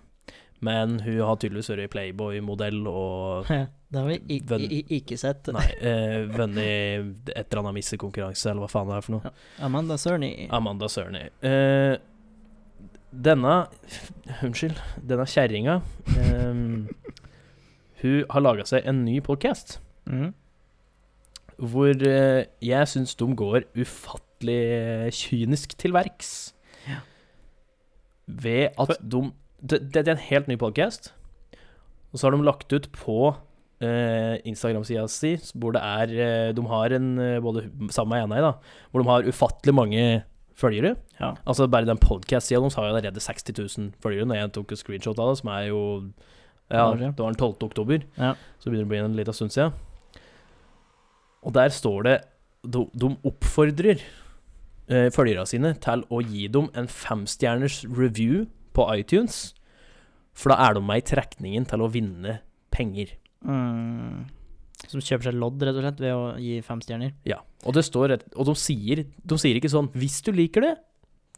B: Men hun har tydeligvis vært Playboy-modell og
A: Det har vi i,
B: Venn-
A: i, i, ikke sett.
B: Nei, eh, vunnet i et eller annet missekonkurranse, eller hva faen det er for noe.
A: Amanda Cerny.
B: Amanda Cerny. Eh, denne Unnskyld. Denne kjerringa eh, Hun har laga seg en ny podkast.
A: Mhm.
B: hvor eh, jeg syns de går ufattelig eh, kynisk til verks.
A: Ja.
B: Ved at de det, det er en helt ny podkast, og så har de lagt ut på eh, Instagram-sida si, hvor det er eh, De har en eh, både sammen med Enei, da, hvor de har ufattelig mange følgere.
A: Ja.
B: Altså Bare den podkast-sida deres har jo allerede 60 000 følgere, når jeg tok et screenshot av det, som er jo Ja,
A: Hva var det?
B: det var den 12. oktober,
A: Ja.
B: så begynner det å bli en liten stund siden. Og der står det De, de oppfordrer eh, følgerne sine til å gi dem en femstjerners review på iTunes, for da er de med i trekningen til å vinne penger.
A: Mm. Som kjøper seg lodd, rett og slett, ved å gi fem stjerner.
B: Ja. Og det står rett Og de sier, de sier ikke sånn 'Hvis du liker det,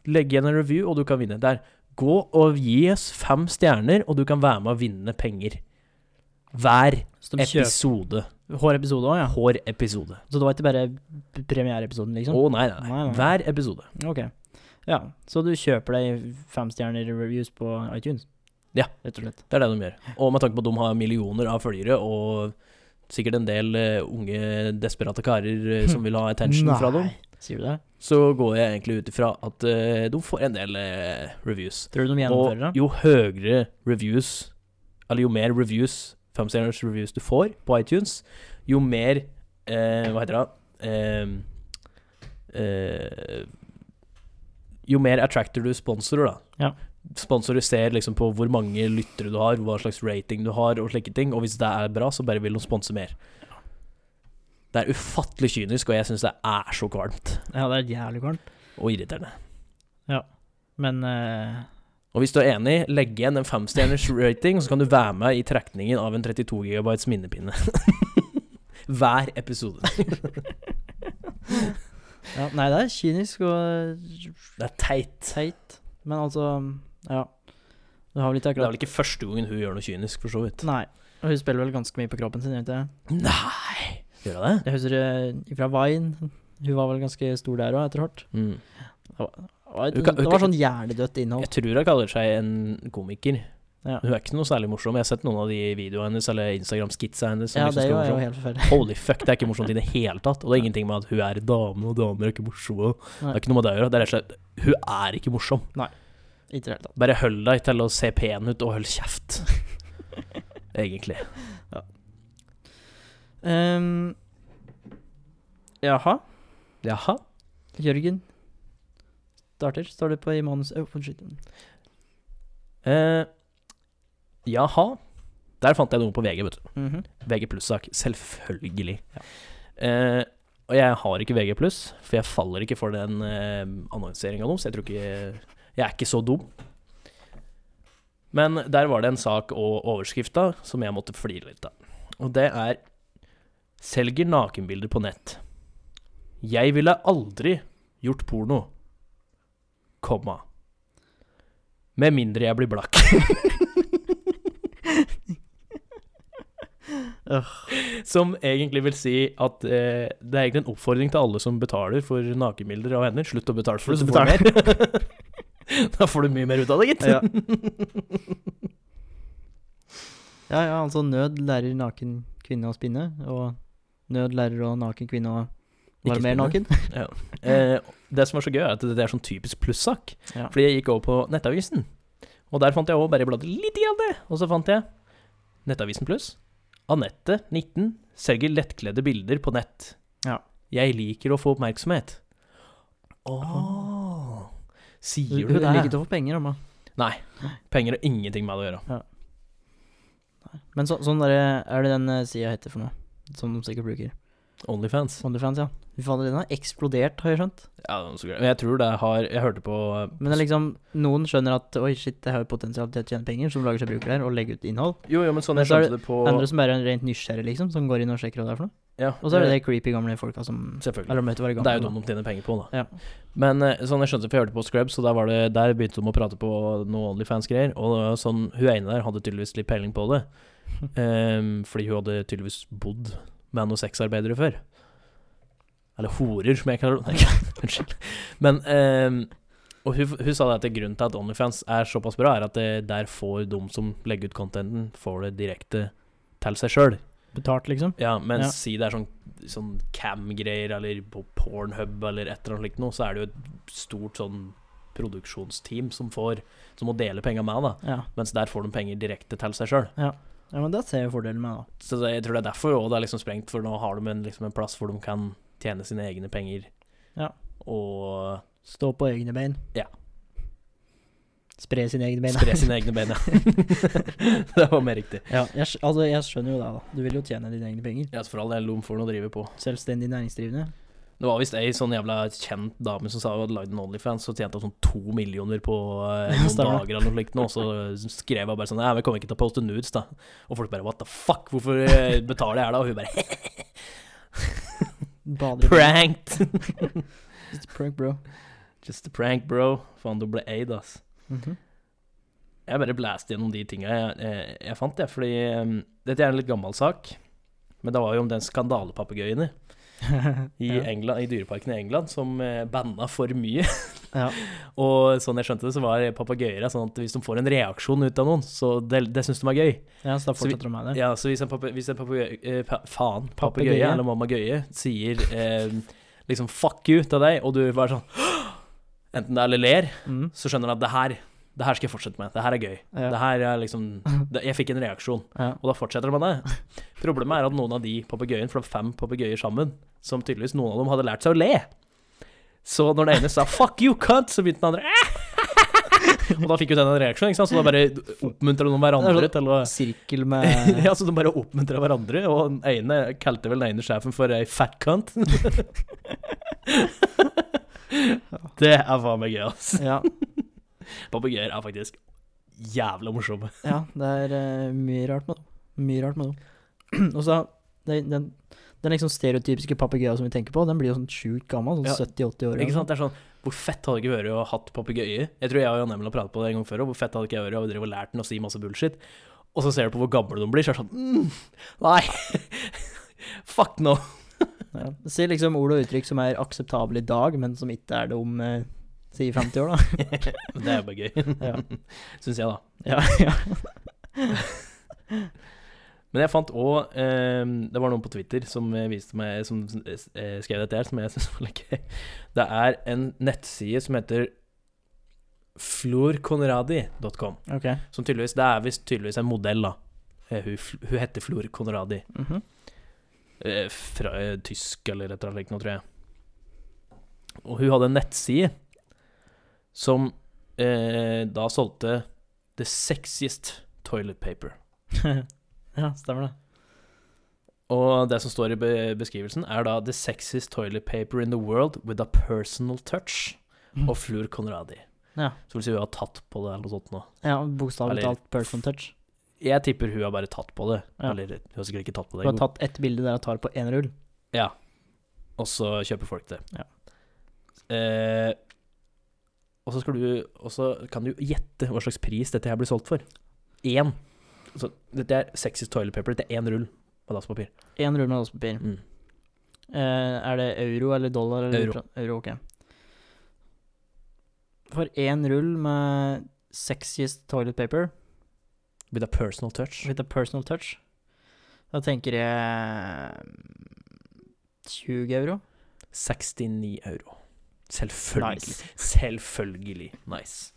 B: legg igjen en review, og du kan vinne'. Der. Gå og gi oss fem stjerner, og du kan være med å vinne penger. Hver
A: Så de kjøper
B: episode.
A: hver episode òg, ja.
B: Hver episode.
A: Så det var ikke bare p- premiereepisoden,
B: Å,
A: liksom?
B: nei, nei,
A: Nei,
B: nei.
A: nei.
B: Hver episode.
A: Ok. Ja, så du kjøper deg femstjerner reviews på iTunes?
B: Ja.
A: Rett og slett.
B: Det er det de gjør. Og med tanke på at de har millioner av følgere, og sikkert en del eh, unge, desperate karer eh, som vil ha attention
A: Nei,
B: fra dem,
A: Sier du det?
B: så går jeg egentlig ut ifra at eh, de får en del eh, reviews.
A: Tror du de gjennomfører
B: Og
A: det?
B: jo høyere reviews, eller jo mer reviews, femstjerners reviews du får på iTunes, jo mer eh, Hva heter det? Eh, eh, jo mer attracter du sponsorer, da.
A: Ja.
B: Sponsorer ser liksom på hvor mange lyttere du har, hva slags rating du har, og slike ting. Og hvis det er bra, så bare vil de sponse mer. Det er ufattelig kynisk, og jeg syns det er så kvalmt
A: Ja, det er jævlig kvalmt.
B: og irriterende.
A: Men eh,
B: Og hvis du er enig, legg igjen en femstjerners rating, så kan du være med i trekningen av en 32 gigabytes minnepinne. Hver episode.
A: ja, Nei, det er kynisk og
B: Det er teit.
A: teit, men altså Ja. Du har vel ikke
B: Det er vel
A: akkurat
B: ikke første gangen hun gjør noe kynisk, for så vidt.
A: Nei. Og hun spiller vel ganske mye på kroppen sin, gjør hun ikke det?
B: Nei! Gjør hun det?
A: Jeg husker eh, fra Vine. Hun var vel ganske stor der òg, etter hvert.
B: Mm.
A: Det var-
B: Hun kan-
A: Det var sånn hjernedødt innhold.
B: Jeg tror hun kaller seg en komiker.
A: Ja.
B: Hun er ikke noe særlig morsom. Jeg har sett noen av de videoene hennes, eller Instagram-skitsa hennes. som
A: Ja,
B: liksom
A: det er jo
B: skal være
A: er jo
B: morsom.
A: helt forferdelig.
B: Holy fuck, det er ikke morsomt i det hele tatt. Og det er ingenting med at hun er dame, og damer er ikke morsomme. Det
A: Nei.
B: er ikke noe med det å gjøre. Det er rett og slett Hun er ikke morsom.
A: Ikke i det hele tatt.
B: Bare hold deg til å se pen ut, og hold kjeft. Egentlig.
A: Ehm, jaha.
B: Jaha.
A: Jørgen starter, står det på i manus Å, unnskyld.
B: Eh, jaha. Der fant jeg noe på VG, vet du.
A: Mhm.
B: VG pluss-sak. Selvfølgelig. Eh, og jeg har ikke VG pluss, for jeg faller ikke for den eh, annonseringa deres. Jeg tror ikke Jeg er ikke så dum. Men der var det en sak og overskrifta som jeg måtte flire litt av. Og det er Selger nakenbilder på nett. Jeg ville aldri gjort porno. Komma. Med mindre jeg blir blakk. Som egentlig vil si at eh, det er egentlig en oppfordring til alle som betaler for nakenbilder av hender. Slutt å betale for det, så
A: Slutt å
B: får du mer. da får du mye mer ut av det, gitt.
A: Ja. Ja, ja, altså nød lærer naken kvinne å spinne, og nød lærer å naken kvinne å
B: Ikke
A: være mer
B: spinne.
A: naken.
B: Eh, det som er så gøy, er at det det er sånn typisk plussak.
A: Ja.
B: Fordi jeg gikk over på Nettavisen. Og der fant jeg også bare bladet litt i av det. Og så fant jeg Nettavisen Pluss. Anette, 19, selger lettkledde bilder på nett.
A: Ja.
B: Jeg liker å få oppmerksomhet. Åh.
A: Du
B: Sier du
A: du liker
B: det?
A: ikke å få penger, mamma.
B: Penger har ingenting med det å gjøre.
A: Men så, sånn derre Er det den eh, sida heter for noe? Som de sikkert bruker.
B: Onlyfans.
A: Onlyfans, ja. Fy fader, den har eksplodert, har jeg skjønt.
B: Ja, det er så gøy. Men jeg tror det har Jeg hørte på
A: Men det er liksom noen skjønner at oi, shit, det har jo potensial til å tjene penger, som lager seg brukere her og legger ut innhold.
B: Jo, jo, men sånn
A: Men
B: jeg
A: så er
B: skjønte det på
A: Andre som bare er rent nysgjerrige, liksom, som går inn og sjekker hva det er for noe.
B: ja,
A: Og så er det de creepy gamle folka som
B: Selvfølgelig.
A: Eller om det var gamle.
B: Eh, Det er jo dem de tjener penger på, da.
A: Ja.
B: Men eh, sånn jeg skjønte for jeg hørte på Scrubs, og der, var det, der begynte de å prate på noe Onlyfans-greier. Og det var sånn, hun ene der hadde tydeligvis litt peiling på det.
A: Eh,
B: Ehm, fordi hun hadde tydeligvis bodd med noen sexarbeidere før. Eller horer, som jeg kaller det. Nei, Unnskyld. Men ehm, Og hun, hun sa det at grunnen til at Onlyfans er såpass bra, er at det, der får de som legger ut contenten, får det direkte til seg sjøl.
A: Betalt, liksom.
B: Ja, men
A: Ja.
B: si det er sånn, sånn cam-greier eller på Pornhub eller et eller annet slikt noe, så er det jo et stort sånn produksjonsteam som får Som må dele penga med, da.
A: Ja.
B: Mens der får de penger direkte til seg sjøl.
A: ja, men det ser jeg fordelen med, da.
B: Så det, jeg tror det er derfor også det er liksom sprengt, for nå har de en, liksom en plass hvor de kan tjene sine egne penger.
A: Ja.
B: Og
A: Stå på egne bein.
B: Ja.
A: Spre sine egne bein.
B: spre sine egne ben, ja. det var mer riktig.
A: Ja, jeg, skj- altså, jeg skjønner jo det, da. Du vil jo tjene dine egne penger.
B: Ja, så for all del, de får noe å drive på.
A: Selvstendig næringsdrivende.
B: Det var visst ei sånn jævla kjent dame som sa hun hadde lagd en Onlyfans og tjente sånn to millioner på eh, noen
A: Stemmer.
B: dager eller noe slikt, nå, og så skrev hun bare sånn Nei, vi kommer ikke til å poste nudes, da. Og folk bare What the fuck, hvorfor eh, betaler jeg her da? Og hun bare
A: Bader i bilen.
B: Pranked!
A: It's prank, bro.
B: Just a prank, bro. Faen, du ble aid, ass.
A: Mhm.
B: Jeg bare blæste gjennom de tinga jeg, jeg, jeg fant, jeg. Fordi eh, dette er en litt gammel sak. Men det var jo om den skandalepapegøyen i
A: ja.
B: England- i dyreparken i England som eh, banna for mye.
A: Ja.
B: og sånn jeg skjønte det, så var papegøyer sånn at hvis de får en reaksjon ut av noen, så det, det syns de er gøy.
A: ja, så da
B: Så vi-
A: fortsetter de med det.
B: Ja, så hvis en, pape, hvis en papegøye eh, pa, Faen,
A: Papegøye.
B: papegøye eller mamagøye sier eh, liksom 'fuck you' til deg, og du bare sånn Enten det er eller ler,
A: Mm.
B: så skjønner du at det her det her skal jeg fortsette med. Det her er gøy.
A: Ja.
B: Det her er liksom det, Jeg fikk en reaksjon,
A: Ja.
B: og da fortsetter det med det. Problemet er at noen av de papegøyene, for det var fem papegøyer sammen, som tydeligvis noen av dem hadde lært seg å le. Så når den ene sa 'fuck you, cunt', så begynte den andre Og da fikk jo den en reaksjon, ikke sant? så da bare oppmuntrer de hverandre til å
A: sånn, Sirkel med
B: ja, så de bare oppmuntra hverandre, og den ene kalte vel den ene sjefen for ei fat cunt. det er faen meg gøy, ass.
A: Ja,
B: Papegøyer er faktisk jævla morsomme.
A: ja det er eh, mye rart med dem. Mye rart med dem. Og så den, den, den liksom stereotypiske papegøyen som vi tenker på, den blir jo sånn sjukt gammel, sånn
B: Ja.
A: 70-80 år.
B: Ikke sant? Det er sånn Hvor fett hadde det ikke vært å ha hatt papegøyer? Jeg tror jeg og Jan Emil har pratet på det en gang før, og hvor fett hadde det ikke vært å drive og lært den å si masse bullshit? Og så ser du på hvor gamle de blir, så er det sånn mm, Nei! Fuck no!
A: Ja. Si liksom ord og uttrykk som er akseptable i dag, men som ikke er det om eh, si 50 år, da.
B: Men det er bare gøy,
A: Ja.
B: syns jeg, da.
A: Ja, ja.
B: Men jeg fant òg Det var noen på Twitter som eh, viste meg Som eh, skrev dette her, som jeg syns var litt gøy. Det er en nettside som heter florconradi.com.
A: Ok.
B: Som tydeligvis Det er visst tydeligvis en modell, da. Eh, Hun, fl- hun heter Flor Conradi.
A: Mhm.
B: eh, Fra eh, tysk eller et eller annet slikt noe, tror jeg. Og hun hadde en nettside som eh, da solgte the sexiest toilet paper.
A: ja, stemmer det.
B: Og det som står i be- beskrivelsen, er da 'The sexiest toilet paper in the world with a personal touch' og Fleur Conradi.
A: Mm. Ja.
B: Så vil si hun har tatt på det, eller noe sånt nå.
A: Ja, bokstavelig
B: Eller-
A: talt personal touch.
B: Jeg tipper hun har bare tatt på det.
A: Ja.
B: Eller hun har sikkert ikke tatt på
A: Du har
B: det,
A: tatt ett bilde der jeg tar på én rull.
B: og så kjøper folk det.
A: Ja.
B: Eh, og så skal du Og så kan du gjette hva slags pris dette her blir solgt for. Én. Så dette er sexiest toilet paper. Dette er én rull med dasspapir.
A: Én rull med dasspapir.
B: Mm.
A: Eh, er det euro eller dollar? Eller
B: Euro.
A: euro ok. For én rull med sexiest toilet paper
B: With a personal touch.
A: with a personal touch, da tenker jeg mm, 20 euro.
B: 69 euro. Selvfølgelig.
A: Nice.
B: Selvfølgelig. Nice.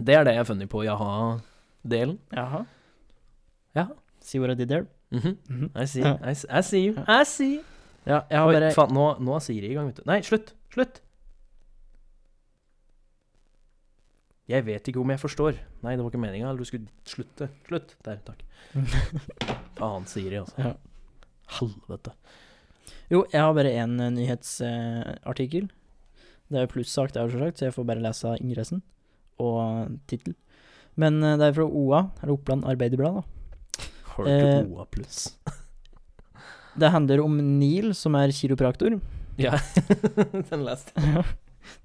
B: Det er det jeg har funnet på jaha-delen.
A: Jaha.
B: Ja.
A: See what I did there?
B: Mhm.
A: Mhm.
B: I see.
A: Ja.
B: I, see- I see you. I see you.
A: Ja, jeg har
B: Oi,
A: bare
B: faen, nå, nå er Siri i gang, vet du. Nei, slutt! Slutt! Jeg vet ikke om jeg forstår. Nei, det var ikke meninga. Eller du skulle slutte. Slutt. Der, takk. Faen, Siri, altså.
A: Ja.
B: Helvete.
A: Jo, jeg har bare én nyhetsartikkel. det er jo plussak, det er jo selvsagt, så jeg får bare lese ingressen og tittel. Men eh, det er fra OA, eller Oppland Arbeiderblad, da.
B: Har du ikke
A: Eh.
B: OA pluss?
A: Det handler om Neil, som er kiropraktor.
B: Ja, den leste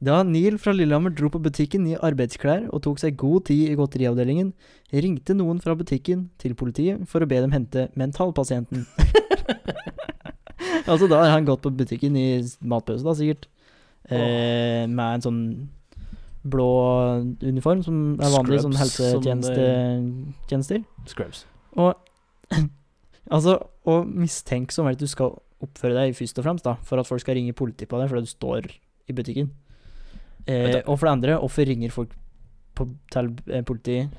A: Da Neil fra Lillehammer dro på butikken i arbeidsklær og tok seg god tid i godteriavdelingen, ringte noen fra butikken til politiet for å be dem hente mentalpasienten. altså, da har han gått på butikken i matpause, da, sikkert. Eh, med en sånn blå uniform, som er vanlig sånn som
B: Scrubs, som det-
A: helsetjenester.
B: Scrubs.
A: Og altså, og mistenksom er det at du skal oppføre deg først og fremst, da, for at folk skal ringe politiet på deg fordi du står i butikken. Eh,
B: Men da-
A: og for det andre, hvorfor ringer folk på, til eh, politiet?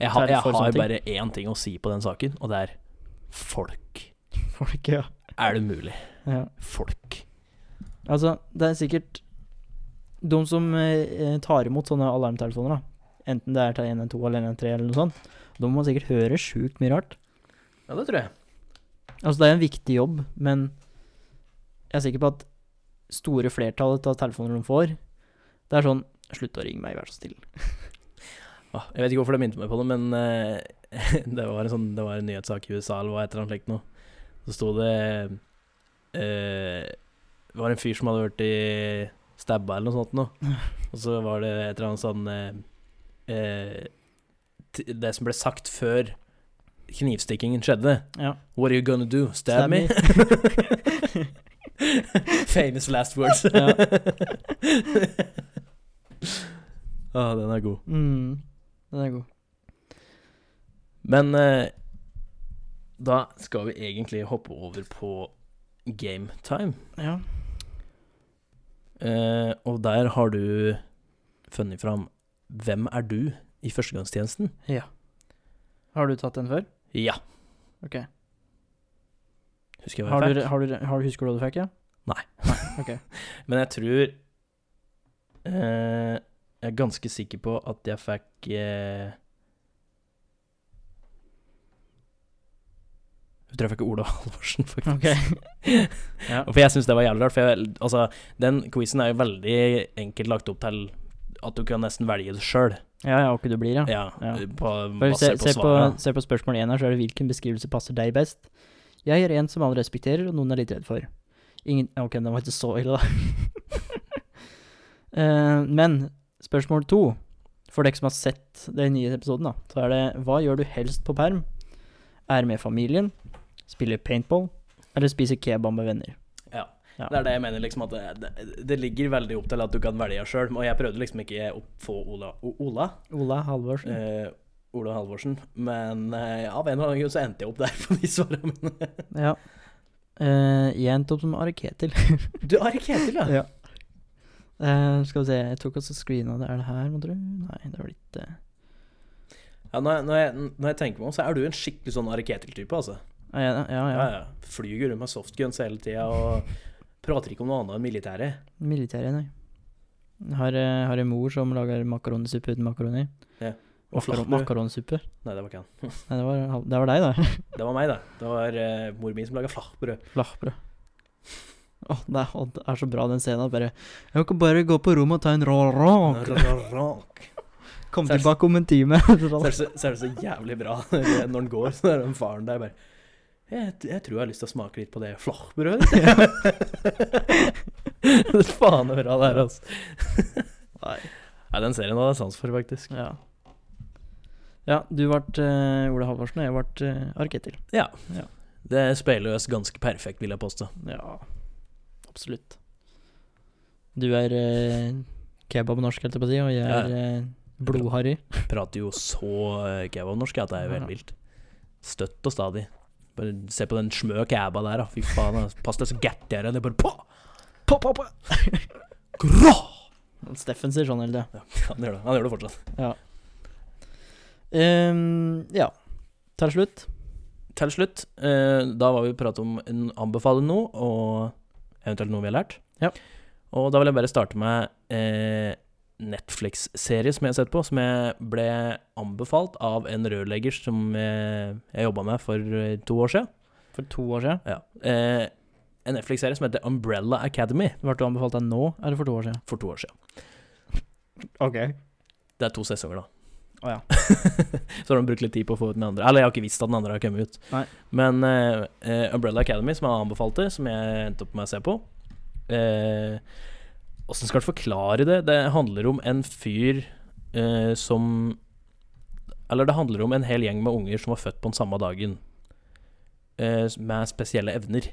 B: Jeg, har-
A: Terror
B: jeg
A: for
B: har
A: sånne ting.
B: bare én ting å si på den saken, og det er folk.
A: Folk, ja.
B: Er det mulig?
A: ja.
B: Folk.
A: Altså, det er sikkert de som eh, tar imot sånne alarmtelefoner, da. Enten det er til 112 eller 113 eller noe sånt. De må sikkert høre sjukt mye rart.
B: Ja, det tror jeg.
A: Altså, det er en viktig jobb, men jeg er sikker på at store flertallet av telefoner de får, det er sånn Slutt å ringe meg, vær så snill.
B: Ah, jeg vet ikke hvorfor det minte meg på det, men eh, det, var en sånn, det var en nyhetssak i USA eller hva heter det slikt nå. Så sto det eh, Det var en fyr som hadde vært i stabba eller noe sånt noe. Og så var det et eller annet sånn eh, eh, t- Det som ble sagt før knivstikkingen skjedde.
A: Ja.
B: What are you gonna do? Stab,
A: Stab
B: me? Famous last words.
A: Ja.
B: ah, den er god.
A: Mm. Den er god.
B: Men eh, da skal vi egentlig hoppe over på game time.
A: Ja.
B: Eh, og der har du funnet fram Hvem er du i førstegangstjenesten?
A: Har du tatt den før?
B: Ja.
A: Ok.
B: Husker jeg hva
A: Har
B: jeg
A: du,
B: fikk?
A: har du, har du Husker du hva du fikk, ja?
B: Nei.
A: Ok.
B: Men jeg tror eh, Jeg er ganske sikker på at jeg fikk eh, Jeg tror jeg fikk Ola Halvorsen, faktisk.
A: Ok. ja.
B: Og For jeg syns det var jævlig rart. For jeg, altså, den quizen er jo veldig enkelt lagt opp til at du kan nesten velge det sjøl.
A: ja, ja, hva du blir, ja.
B: Ja,
A: Ja.
B: På,
A: Bare se,
B: Mm, basert på
A: se, på,
B: svaret.
A: se på spørsmål én her, så er det hvilken beskrivelse passer deg best. Jeg er en som alle respekterer, og noen er litt redd for. Ingen Ok, den var ikke så ille, da. Eh, men spørsmål to, for dere som har sett den nye episoden, da, så er det hva gjør du helst på perm? Er med familien, spiller paintball, eller spiser kebab med venner?
B: Ja.
A: Ja.
B: Det er det jeg mener, liksom, at det, det- det ligger veldig opp til at du kan velge sjøl. Og jeg prøvde liksom ikke å få Ola, O- Ola,
A: Ola Halvorsen.
B: eh, Ola Halvorsen, men eh, av en eller annen grunn så endte jeg opp der på de svarene mine.
A: Ja. Eh, jeg endte opp som Are Ketil.
B: Du har ikke Ketil, ja?
A: Ja. Eh, skal vi se, jeg tok også screena det. Er det her, må tro? Nei, det var litt eh,
B: ja når, jeg, når, jeg, når jeg tenker meg om, så er du en skikkelig sånn Are Ketil-type, altså.
A: ah, ja, ja, ja.
B: Ja, ja. Flyger rundt med softguns hele tida og prater ikke om noe annet enn militæret.
A: Militæret, nei. Har, eh, har en mor som lager makaronisuppe uten makaroni.
B: Og
A: Makaron-
B: flakbrød.
A: Makaronsuppe.
B: Nei, det var ikke han.
A: Nei, det var, hal- det var deg, da.
B: Det var meg, da. Det var eh, mor min som laga flachbrød.
A: Flachbrød. Åh, det, er- åh, det er så bra den scenen. Bare Jeg kan bare gå på rommet og ta en rå rå.
B: Rak.
A: Kom
B: Ser-
A: tilbake om en time.
B: Så er det så, så er det så jævlig bra når den går, så er den faren der bare jeg, t- jeg tror jeg har lyst til å smake litt på det flachbrødet. Faen så bra det er, altså.
A: Nei.
B: Nei, den serien hadde jeg sans for, faktisk.
A: Ja. ja, du ble eh, Ole Halvorsen, og jeg ble eh, Arketil.
B: Det speiler oss ganske perfekt, vil jeg påstå.
A: Ja, absolutt. Du er eh, kebab-norsk, holdt jeg på å si, og jeg
B: Ja.
A: er eh, blodharry.
B: Prater jo så eh, kebabnorsk at det er jo
A: Ja.
B: helt vilt. Støtt og stadig. Bare se på den smø kebaba der, da. Fy faen, altså. pass deg så gært jeg er. Det er bare på!
A: På, på, på!
B: Grå!
A: Steffen sier sånn hele tida.
B: Han gjør det, han gjør det fortsatt.
A: Ehm, ja. Til slutt.
B: Til slutt, eh, da var vi pratet om en anbefale noe, og eventuelt noe vi har lært.
A: Ja.
B: Og da vil jeg bare starte med eh, Netflix-serie som jeg har sett på, som jeg ble anbefalt av en rørlegger som eh, jeg jobba med for eh, to år siden.
A: For to år siden.
B: Ja. Eh, en Netflix-serie som heter Umbrella Academy
A: Ble du anbefalt deg nå, eller for to år siden?
B: for to år siden.
A: Ok.
B: Det er to sesonger, da.
A: Å ja.
B: Så har de brukt litt tid på å få ut den andre. Eller jeg har ikke visst at den andre har kommet ut.
A: Nei.
B: Men eh, eh, Umbrella Academy, som jeg anbefalte, som jeg endte opp med å se på Eh, Åssen skal du forklare det? Det handler om en fyr eh, som Eller det handler om en hel gjeng med unger som var født på den samme dagen. Eh, med spesielle evner.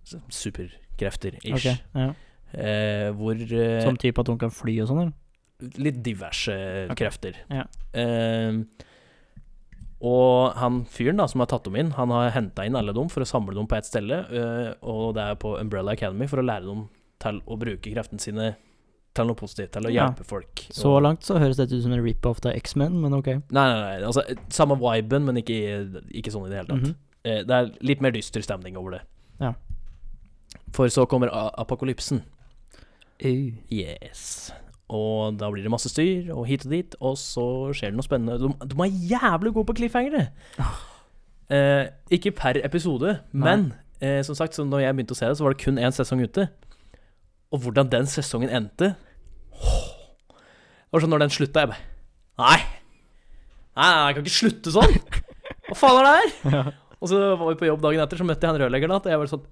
B: Så- Superkrefter, ish.
A: Ok, ja.
B: Eh, hvor eh,
A: Som type at hun kan fly og sånn, eller?
B: litt diverse
A: Ok.
B: krefter.
A: Ja.
B: Eh, og han fyren da, som har tatt dem inn, han har henta inn alle dem for å samle dem på ett sted. eh, og det er på Umbrella Academy for å lære dem til å bruke kreftene sine til noe positivt, til å
A: Ja.
B: hjelpe folk.
A: Så
B: Og-
A: langt så høres dette ut som en rip-off av X-Men, men ok.
B: Nei, nei, nei. Altså, samme viben, men ikke, ikke sånn i det hele tatt.
A: Mhm.
B: Eh, Det er litt mer dyster stemning over det.
A: Ja.
B: For så kommer a- apokalypsen.
A: Au.
B: Yes. Og da blir det masse styr, og hit og dit, og så skjer det noe spennende. De, de er jævlig gode på cliffhangere! Eh, ikke per episode,
A: Nei.
B: men eh, som sagt, så når jeg begynte å se det, så var det kun én sesong ute. Og hvordan den sesongen endte åh. Det var sånn når den slutta, jeg bare Nei! Nei, nei, jeg kan ikke slutte sånn! Hva faen er det her? Og så var vi på jobb dagen etter, så møtte jeg han rørleggeren. da, Og jeg var sånn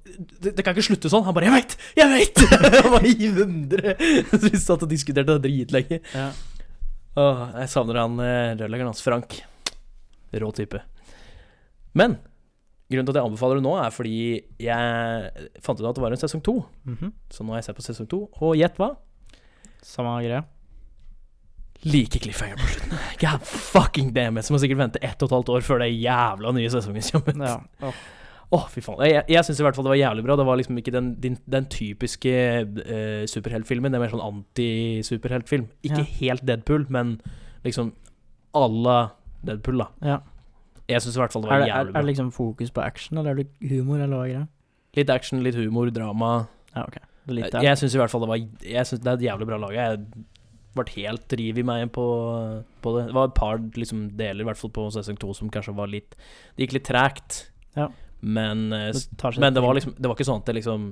B: det, det kan ikke slutte sånn! Han bare 'Jeg veit! Jeg veit!' Han var ivendere. Så vi satt og diskuterte det dritlenge.
A: Ja.
B: Åh, jeg savner han eh, rørleggeren hans, Frank. Rå type. Men grunnen til at jeg anbefaler det nå, er fordi jeg fant ut at det var en sesong to.
A: Mhm.
B: Så nå har jeg sett på sesong to, og gjett hva?
A: Samme greia.
B: Like cliffhanger på slutten. God fucking damn it! Så må jeg sikkert vente ett og et halvt år før det jævla nye sesongen kommer.
A: Ja. Åh.
B: Å, fy faen. Jeg, jeg syns i hvert fall det var jævlig bra. Det var liksom ikke den, din, den typiske eh, superheltfilmen. Det er mer sånn anti-superheltfilm. Ikke
A: Ja.
B: helt Deadpool, men liksom à la Deadpool, da.
A: Ja.
B: Jeg syns i hvert fall det
A: Er,
B: var
A: det, er, er
B: jævlig bra.
A: det liksom fokus på action, eller er det humor, eller hva er greia?
B: Litt action, litt humor, drama.
A: Ja, ok. Det er litt der.
B: Jeg, jeg syns i hvert fall det var Jeg synes det er et jævlig bra lag. Jeg ble helt riv i meg på, på det. Det var et par liksom, deler, i hvert fall på sesong to, som kanskje var litt Det gikk litt tregt.
A: Ja.
B: Men eh,
A: Det tar seg
B: Men det
A: tid.
B: var liksom Det var ikke sånn at det liksom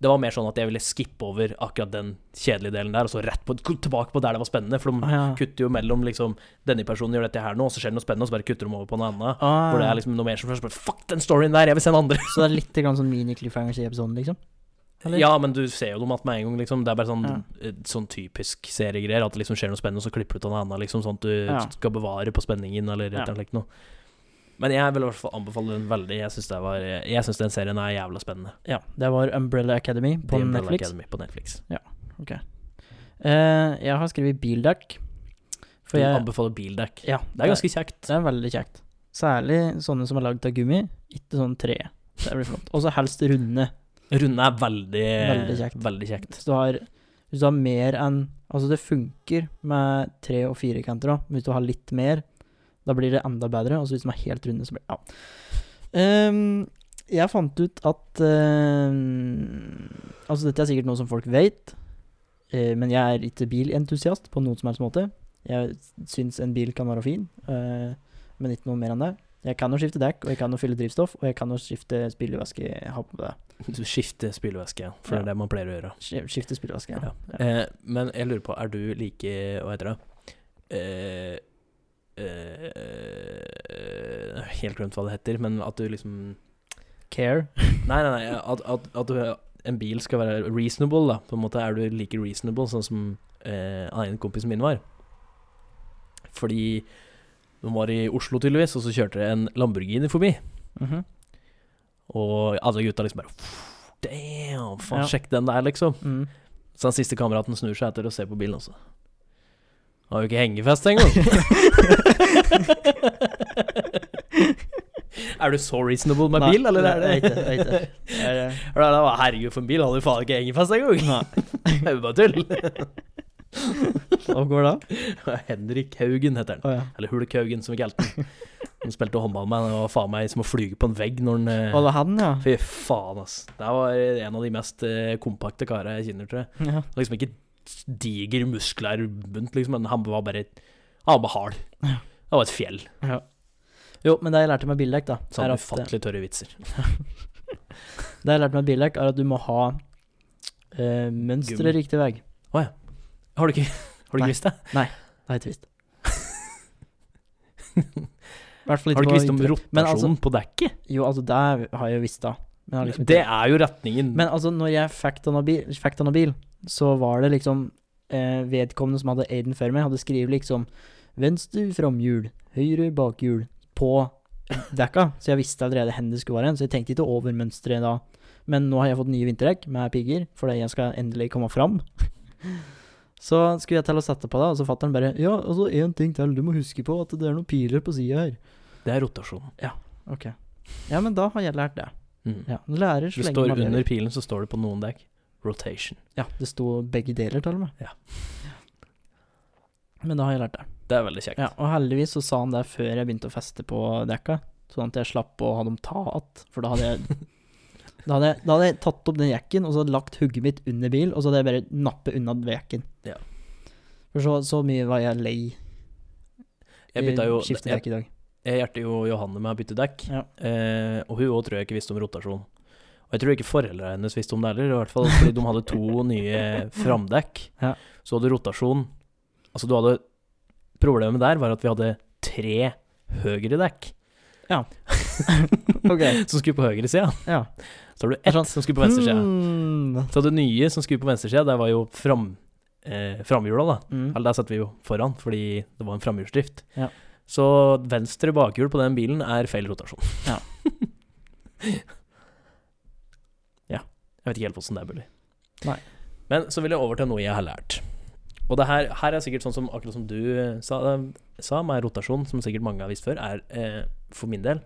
B: Det var mer sånn at jeg ville skippe over akkurat den kjedelige delen der, og så rett på, tilbake på der det var spennende. For de
A: ah, ja.
B: kutter jo mellom liksom Denne personen gjør dette her nå, og så skjer det noe spennende, og så bare kutter de over på noe annet.
A: ah,
B: Hvor det er liksom noe mer som først bare Fuck den storyen der, jeg vil se den andre!
A: Så det er litt grann sånn mini-cliffhangers i episoden, liksom? Eller?
B: Ja, men du ser jo dem igjen med en gang, liksom. Det er bare sånn,
A: Ja.
B: eh, sånn typisk seriegreier. At det liksom skjer noe spennende, og så klipper du til noe annet, liksom. Sånn at du
A: Ja.
B: skal bevare på spenningen, eller et
A: Ja.
B: eller annet slikt noe. Men jeg vil i hvert fall anbefale den veldig. Jeg syns det var- eh, jeg synes den serien er jævla spennende.
A: Ja. Det var Umbrella Academy på
B: The Umbrella
A: Netflix.
B: Academy på Netflix.
A: Eh, jeg har skrevet bildekk. For
B: du
A: jeg
B: anbefaler bildekk.
A: Ja,
B: Det er ganske kjekt.
A: Det er veldig kjekt. Særlig sånne som er lagd av gummi, ikke sånn tre. Det blir flott. Og så helst runde.
B: Runde er veldig
A: Veldig kjekt.
B: veldig kjekt.
A: Hvis du har, hvis du har mer enn Altså, det funker med tre- og firekanter òg, men hvis du har litt mer, da blir det enda bedre. Og så hvis de er helt runde, så blir det Ja. Ehm, jeg fant ut at ehm, Altså, dette er sikkert noe som folk vet, eh, men jeg er ikke bilentusiast på noen som helst måte. Jeg syns en bil kan være fin, eh, men ikke noe mer enn det. Jeg kan jo skifte dekk, og jeg kan jo fylle drivstoff, og jeg kan jo skifte spylevæske. Ha på det.
B: Du skifter spylevæske, for
A: Ja.
B: det er det man pleier å gjøre.
A: Sk- Skifte spylevæske.
B: Ja. Eh, men jeg lurer på, er du like Hva heter det? Eh, eh, jeg har eh, helt glemt hva det heter, men at du liksom
A: Care.
B: Nei, nei, nei. At, at, at du, en bil skal være reasonable, da. På en måte er du like reasonable sånn som eh, han ene kompisen min var. Fordi de var i Oslo, tydeligvis, og så kjørte det en Lamborghini forbi.
A: Mhm.
B: Og alle gutta liksom bare "Pff, Damn, faen,
A: Ja.
B: sjekk den der, liksom.
A: Mm.
B: Så den siste kameraten snur seg etter og ser på bilen, altså. Har jo ikke hengefest engang! er du så reasonable med
A: Nei,
B: bil, eller
A: nei,
B: er
A: jeg er
B: det
A: ikke- jeg er ikke. Er det-
B: Er det bare, Herregud, for en bil, hadde du faen ikke hengefest engang! Det er jo bare tull.
A: Hva går det da?
B: Henrik Haugen heter han.
A: Å ja.
B: Eller Hulk Haugen, som vi kalte han. Han spilte håndball med han og var faen meg som å flyge på en vegg når han eh,
A: Å, det er han, ja.
B: Fy faen, ass. Det her var en av de mest eh, kompakte karene jeg kjenner, tror jeg.
A: ja.
B: Han var Liksom ikke diger muskler rundt, liksom, men han var bare Han var bare hard.
A: Ja.
B: Det var et fjell.
A: Jo, men det jeg lærte med bildekk, da,
B: Så
A: er
B: han
A: at, eh,
B: ufattelig tørre vitser.
A: det jeg lærte med bildekk, er at du må ha eh, mønsteret
B: Gummi.
A: riktig vei.
B: Har du ikke, har du
A: Nei.
B: ikke visst det?
A: Det er ikke visst. I hvert fall
B: Har
A: på
B: du ikke visst om
A: internett. Men
B: rotasjonen på dekket?
A: Jo, altså, det har jeg jo visst, da. Men, jeg har liksom
B: det
A: ikke-
B: er jo retningen.
A: men altså, når jeg fikk denne bil, fikk denne bil så var det liksom eh, vedkommende som hadde Aiden før meg, hadde skrevet liksom venstre framhjul, høyre bakhjul på dekka. Så jeg visste allerede hvor det skulle være hen, så jeg tenkte ikke over mønsteret da. Men nå har jeg fått nye vinterdekk med pigger, fordi jeg skal endelig komme fram. Så skulle jeg til å sette på det, og så fatter'n bare Ja, og så én ting til, du må huske på at det er noen piler på sida her.
B: det er rotasjonen.
A: Ok. Ja, men da har jeg lært det.
B: Mm.
A: Ja, Lærer
B: Du
A: så lenge
B: står
A: man lever.
B: under pilen, så står det på noen dekk rotation.
A: Ja, det sto begge deler til og med.
B: Ja.
A: Men da har jeg lært det.
B: Det er veldig kjekt.
A: Ja, og heldigvis så sa han det før jeg begynte å feste på dekka, sånn at jeg slapp å ha dem ta att, for da hadde jeg Da hadde, jeg, da hadde jeg tatt opp den jakken og så lagt hugget mitt under bil, og så hadde jeg bare nappet unna ved jakken.
B: Ja.
A: For så, så mye var jeg lei
B: Jeg bytta jo
A: skifte
B: jeg,
A: dekk i dag.
B: jeg hjertet jo Johanne med å bytte dekk,
A: Ja.
B: eh, og hun òg tror jeg ikke visste om rotasjon. Og jeg tror ikke foreldrene hennes visste om det heller, i hvert fall fordi de hadde to nye framdekk.
A: Ja.
B: Så hadde rotasjon Altså, du hadde Problemet der var at vi hadde tre høyre dekk.
A: Ja. Ok,
B: som skulle på høyresida.
A: ja. sånn
B: Så har du ett som skulle på venstresida.
A: Hmm.
B: Så det nye som skulle på venstresida, det var jo fram, eh, framhjula, da.
A: Mm.
B: Eller der satt vi jo foran, fordi det var en framhjulsdrift.
A: Ja.
B: Så venstre bakhjul på den bilen er feil rotasjon.
A: Ja.
B: ja. Jeg vet ikke helt hvordan det er mulig.
A: Nei.
B: Men så vil jeg over til noe jeg har lært. Og det her, her er sikkert sånn som akkurat som du eh, sa, sa med rotasjon, som sikkert mange har visst før, er eh, for min del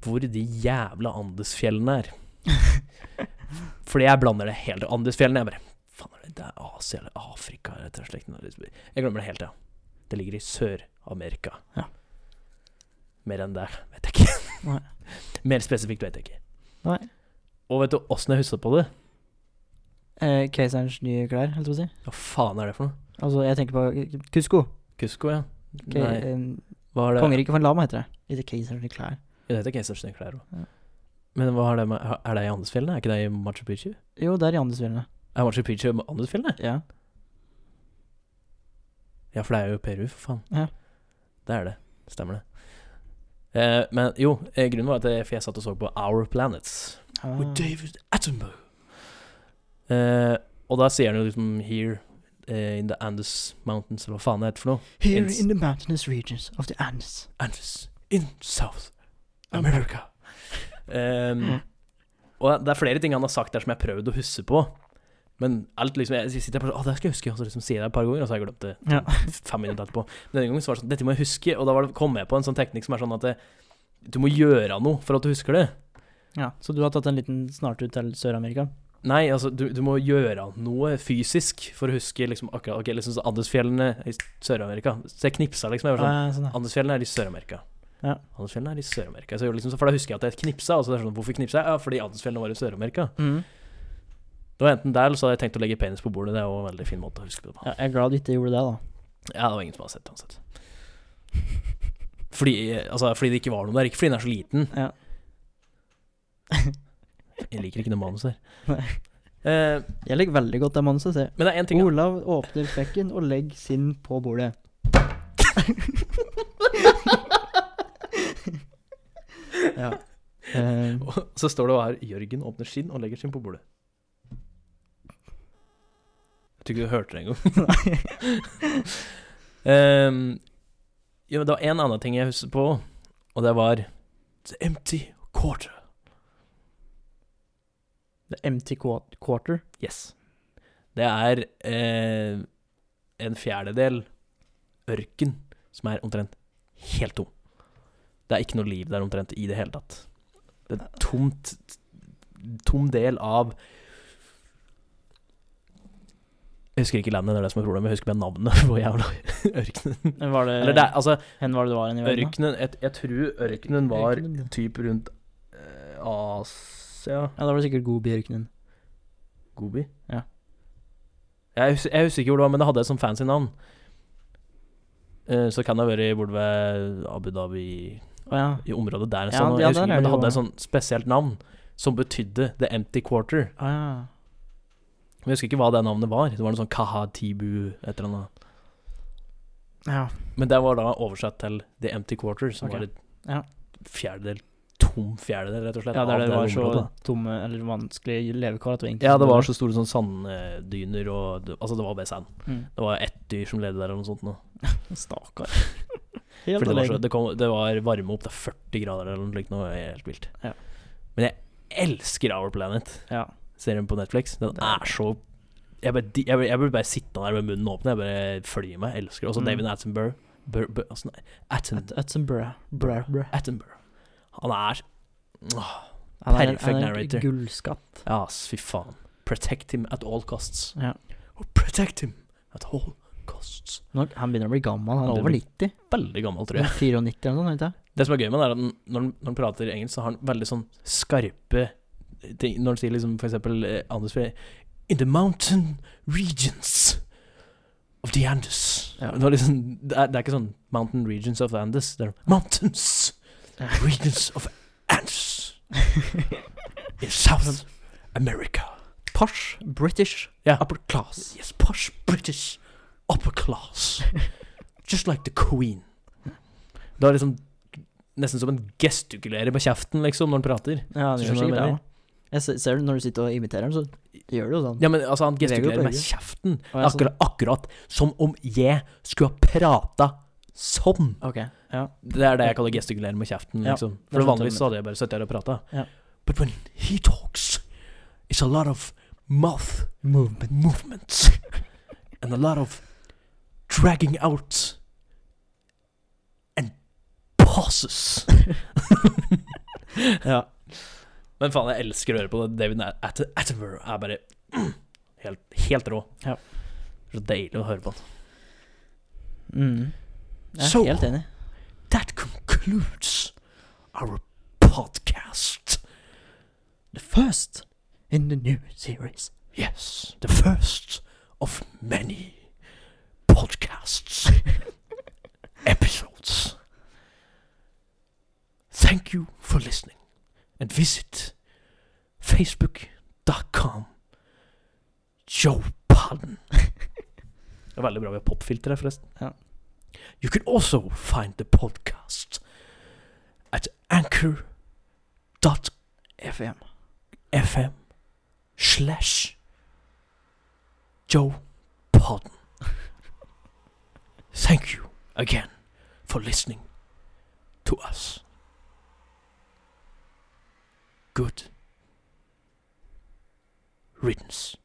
B: hvor de jævla Andesfjellene er. Fordi jeg blander det helt Andesfjellene, jeg bare Faen, er det, det er Asia eller Afrika eller et eller annet slikt. Jeg glemmer det helt, ja. Det ligger i Sør-Amerika.
A: Ja.
B: Mer enn det vet jeg ikke.
A: Nei.
B: Mer spesifikt vet jeg ikke.
A: Nei.
B: Og vet du åssen jeg husker på det?
A: Eh, Keiserens nye klær, holdt jeg på å si.
B: Hva faen er det for noe?
A: Altså, jeg tenker på Kusko.
B: Kusko, ja.
A: Ke-
B: Nei,
A: eh,
B: hva er det?
A: Kongeriket for lama heter det. Ikke Keiserens nye klær.
B: Det heter Keisers nye klær
A: Ja.
B: òg. Men hva er det med Er det i Andesfjellene? Er ikke det i Machu Picchu?
A: Jo, det er i Andesfjellene.
B: Er Machu Picchu i Andesfjellene?
A: Ja.
B: Ja, for det er jo Peru, for faen.
A: Ja.
B: Det er det. Stemmer det. Eh, men jo, eh, grunnen var at jeg, for jeg satt og så på Our Planets.
A: Ah.
B: with David Attenborough. Eh, og da sier han jo liksom Here eh, in the Andes Mountains, eller hva faen det heter for noe.
A: Here
B: Ins-
A: in the mountainous regions of the Andes.
B: Andes in South America. Ehm, og det er flere ting han har sagt der som jeg har prøvd å huske på. Men alt liksom, jeg sitter bare sånn Å, det skal jeg huske. Og så liksom sier jeg det et par ganger, og så har jeg glemt det
A: Ja.
B: fem minutter etterpå. Men denne gangen så var det sånn Dette må jeg huske. Og da var det, kom jeg på en sånn teknikk som er sånn at det, du må gjøre noe for at du husker det.
A: ja. Så du har tatt en liten snartur til Sør-Amerika?
B: Nei, altså, du, du må gjøre noe fysisk for å huske liksom, akkurat ok, liksom, så Andesfjellene i Sør-Amerika. Så jeg knipsa, liksom. Jeg var sånn,
A: Eh, sånn ja.
B: Andesfjellene er i Sør-Amerika.
A: Ja.
B: Andesfjellene er i Sør-Amerika. Så jeg gjorde liksom, så- for da husker jeg at jeg knipsa. Og så er det sånn, hvorfor knipsa jeg? Ja, fordi Andesfjellene var i Sør-Amerika.
A: Mm.
B: Det var enten der, eller så hadde jeg tenkt å legge penis på bordet. Det er jo en veldig fin måte å huske det på.
A: ja. Jeg er glad du ikke gjorde det, da.
B: Ja, det var ingen som hadde sett det uansett. Fordi, altså, fordi det ikke var noe der. Ikke fordi den er så liten.
A: Ja.
B: Jeg liker ikke det manuset
A: Nei.
B: her. Eh,
A: Jeg liker veldig godt det manuset. Se.
B: men det er én ting
A: Olav åpner sekken og legger sin på bordet. ja. Eh,
B: Og så står det her Jørgen åpner skinn og legger skinn på bordet. Jeg tror ikke du hørte det engang. um, jo, men det var en annen ting jeg husker på, og det var The empty quarter.
A: the empty quar- quarter.
B: Yes. Det er eh, en fjerdedel ørken som er omtrent helt tom. Det er ikke noe liv der omtrent i det hele tatt. Det er et tomt Tom del av Jeg husker ikke landet, det er det som er problemet. Jeg husker bare navnet på jævla ørkenen.
A: Men Var det,
B: Eller det er, altså,
A: Hen var det det var hen i verden? da?
B: ørkenen jeg, jeg tror ørkenen var
A: Ørkenen.
B: typ rundt eh, Asia
A: Ja, da var det sikkert Gobi-ørkenen.
B: Gobi?
A: Ja.
B: Jeg, hus jeg husker ikke hvor det var, men det hadde et sånt fancy navn. Eh, så kan det ha vært borte ved Abu Dhabi,
A: Å ja.
B: i området der.
A: Ja,
B: sånn, og
A: ja,
B: jeg husker,
A: der er
B: ikke, men det
A: det jo-
B: hadde et sånt spesielt navn som betydde The Empty Quarter.
A: Å Ah, ja.
B: Men jeg husker ikke hva det navnet var. Det var noe sånn Kaha Tibu et eller annet.
A: ja.
B: Men det var da oversatt til The Empty Quarter, som
A: Ok.
B: var et
A: Ja.
B: fjerdedel, tom fjerdedel, rett og slett.
A: Ja, der
B: av
A: det var så
B: området.
A: tomme eller vanskelige levekår at det var egentlig
B: Ja, det var så store sånn sanddyner og det, Altså, det var bare sand.
A: Mm.
B: Det var ett dyr som levde der, eller noe sånt. Nå.
A: Stakkar.
B: Fordi
A: Helt
B: det, var så,
A: alene.
B: det, kom, det var varme opp til 40 grader eller noe slikt. Noe helt vilt.
A: Ja.
B: Men jeg elsker Our Planet,
A: Ja.
B: serien på Netflix. Den
A: Det er-
B: er så Jeg bare- jeg blir jeg blir bare sittende der med munnen åpen. Jeg bare følger med. Jeg elsker det. Også
A: Mm.
B: David Attenborough. Bur, bur, altså, nei, Atten,
A: At, Attenborough. Bra, bra.
B: Attenborough. Han er åh,
A: Han er-
B: Perfect
A: han er en
B: narrator.
A: Gullskatt.
B: Ja, ass, fy faen. Protect him at all costs.
A: Ja.
B: Protect him at all costs.
A: Nå, han begynner å bli gammel. Han
B: Han
A: er
B: begynner
A: over
B: å bli-
A: 90.
B: Veldig gammel, tror
A: 94
B: jeg.
A: eller noe sånt.
B: Det som er gøy med det, er at den- når han, når han prater engelsk, så har han veldig sånn skarpe ting. Når han sier liksom for eksempel eh, Anders Frey In the mountain regions of the Andes.
A: Ja.
B: Det, var liksom, det, er, det er ikke sånn Mountain regions of Andes. Det er Mountains
A: Ja.
B: regions of Andes
A: Sånn.
B: in South America.
A: Posh British
B: Ja.
A: upper class.
B: Yes, posh British upper class. Just like the queen. Det var liksom nesten som en gestikulerer med kjeften, liksom, når han prater.
A: Ja, det gjør
B: Så skjønner du hva jeg
A: sikkert det
B: mener?
A: også. Jeg se- ser det når du sitter og imiterer den, så gjør du jo sånn.
B: Ja, men altså, han gestikulerer med
A: begge.
B: kjeften.
A: Å, ja, sånn.
B: Akkurat, akkurat som om jeg skulle ha prata sånn.
A: Ok, ja.
B: Det er det jeg kaller gestikulere med kjeften,
A: Ja,
B: liksom.
A: det
B: For
A: er
B: vanligvis
A: sånn
B: så hadde jeg bare sittet der og prata.
A: Ja.
B: But when he talks, it's a lot of mouth
A: Movement.
B: movements. And a lot of dragging out. And pauses.
A: Ja.
B: Men faen, jeg elsker å høre på det. David At Attenborough er bare helt, helt rå.
A: Ja.
B: Så deilig å høre på han.
A: Mm. Jeg er
B: Så.
A: helt enig.
B: That concludes our podcast.
A: The first in the new series.
B: Yes, the first of many podcasts episodes. Thank you for listening and visit facebook.com Joe Padden. Det er veldig bra med popfilter her, forresten.
A: Ja.
B: You can also find the podcast at anchor.com
A: FM.
B: FM slash Joe Podden. Thank you again for listening to us. Good riddance.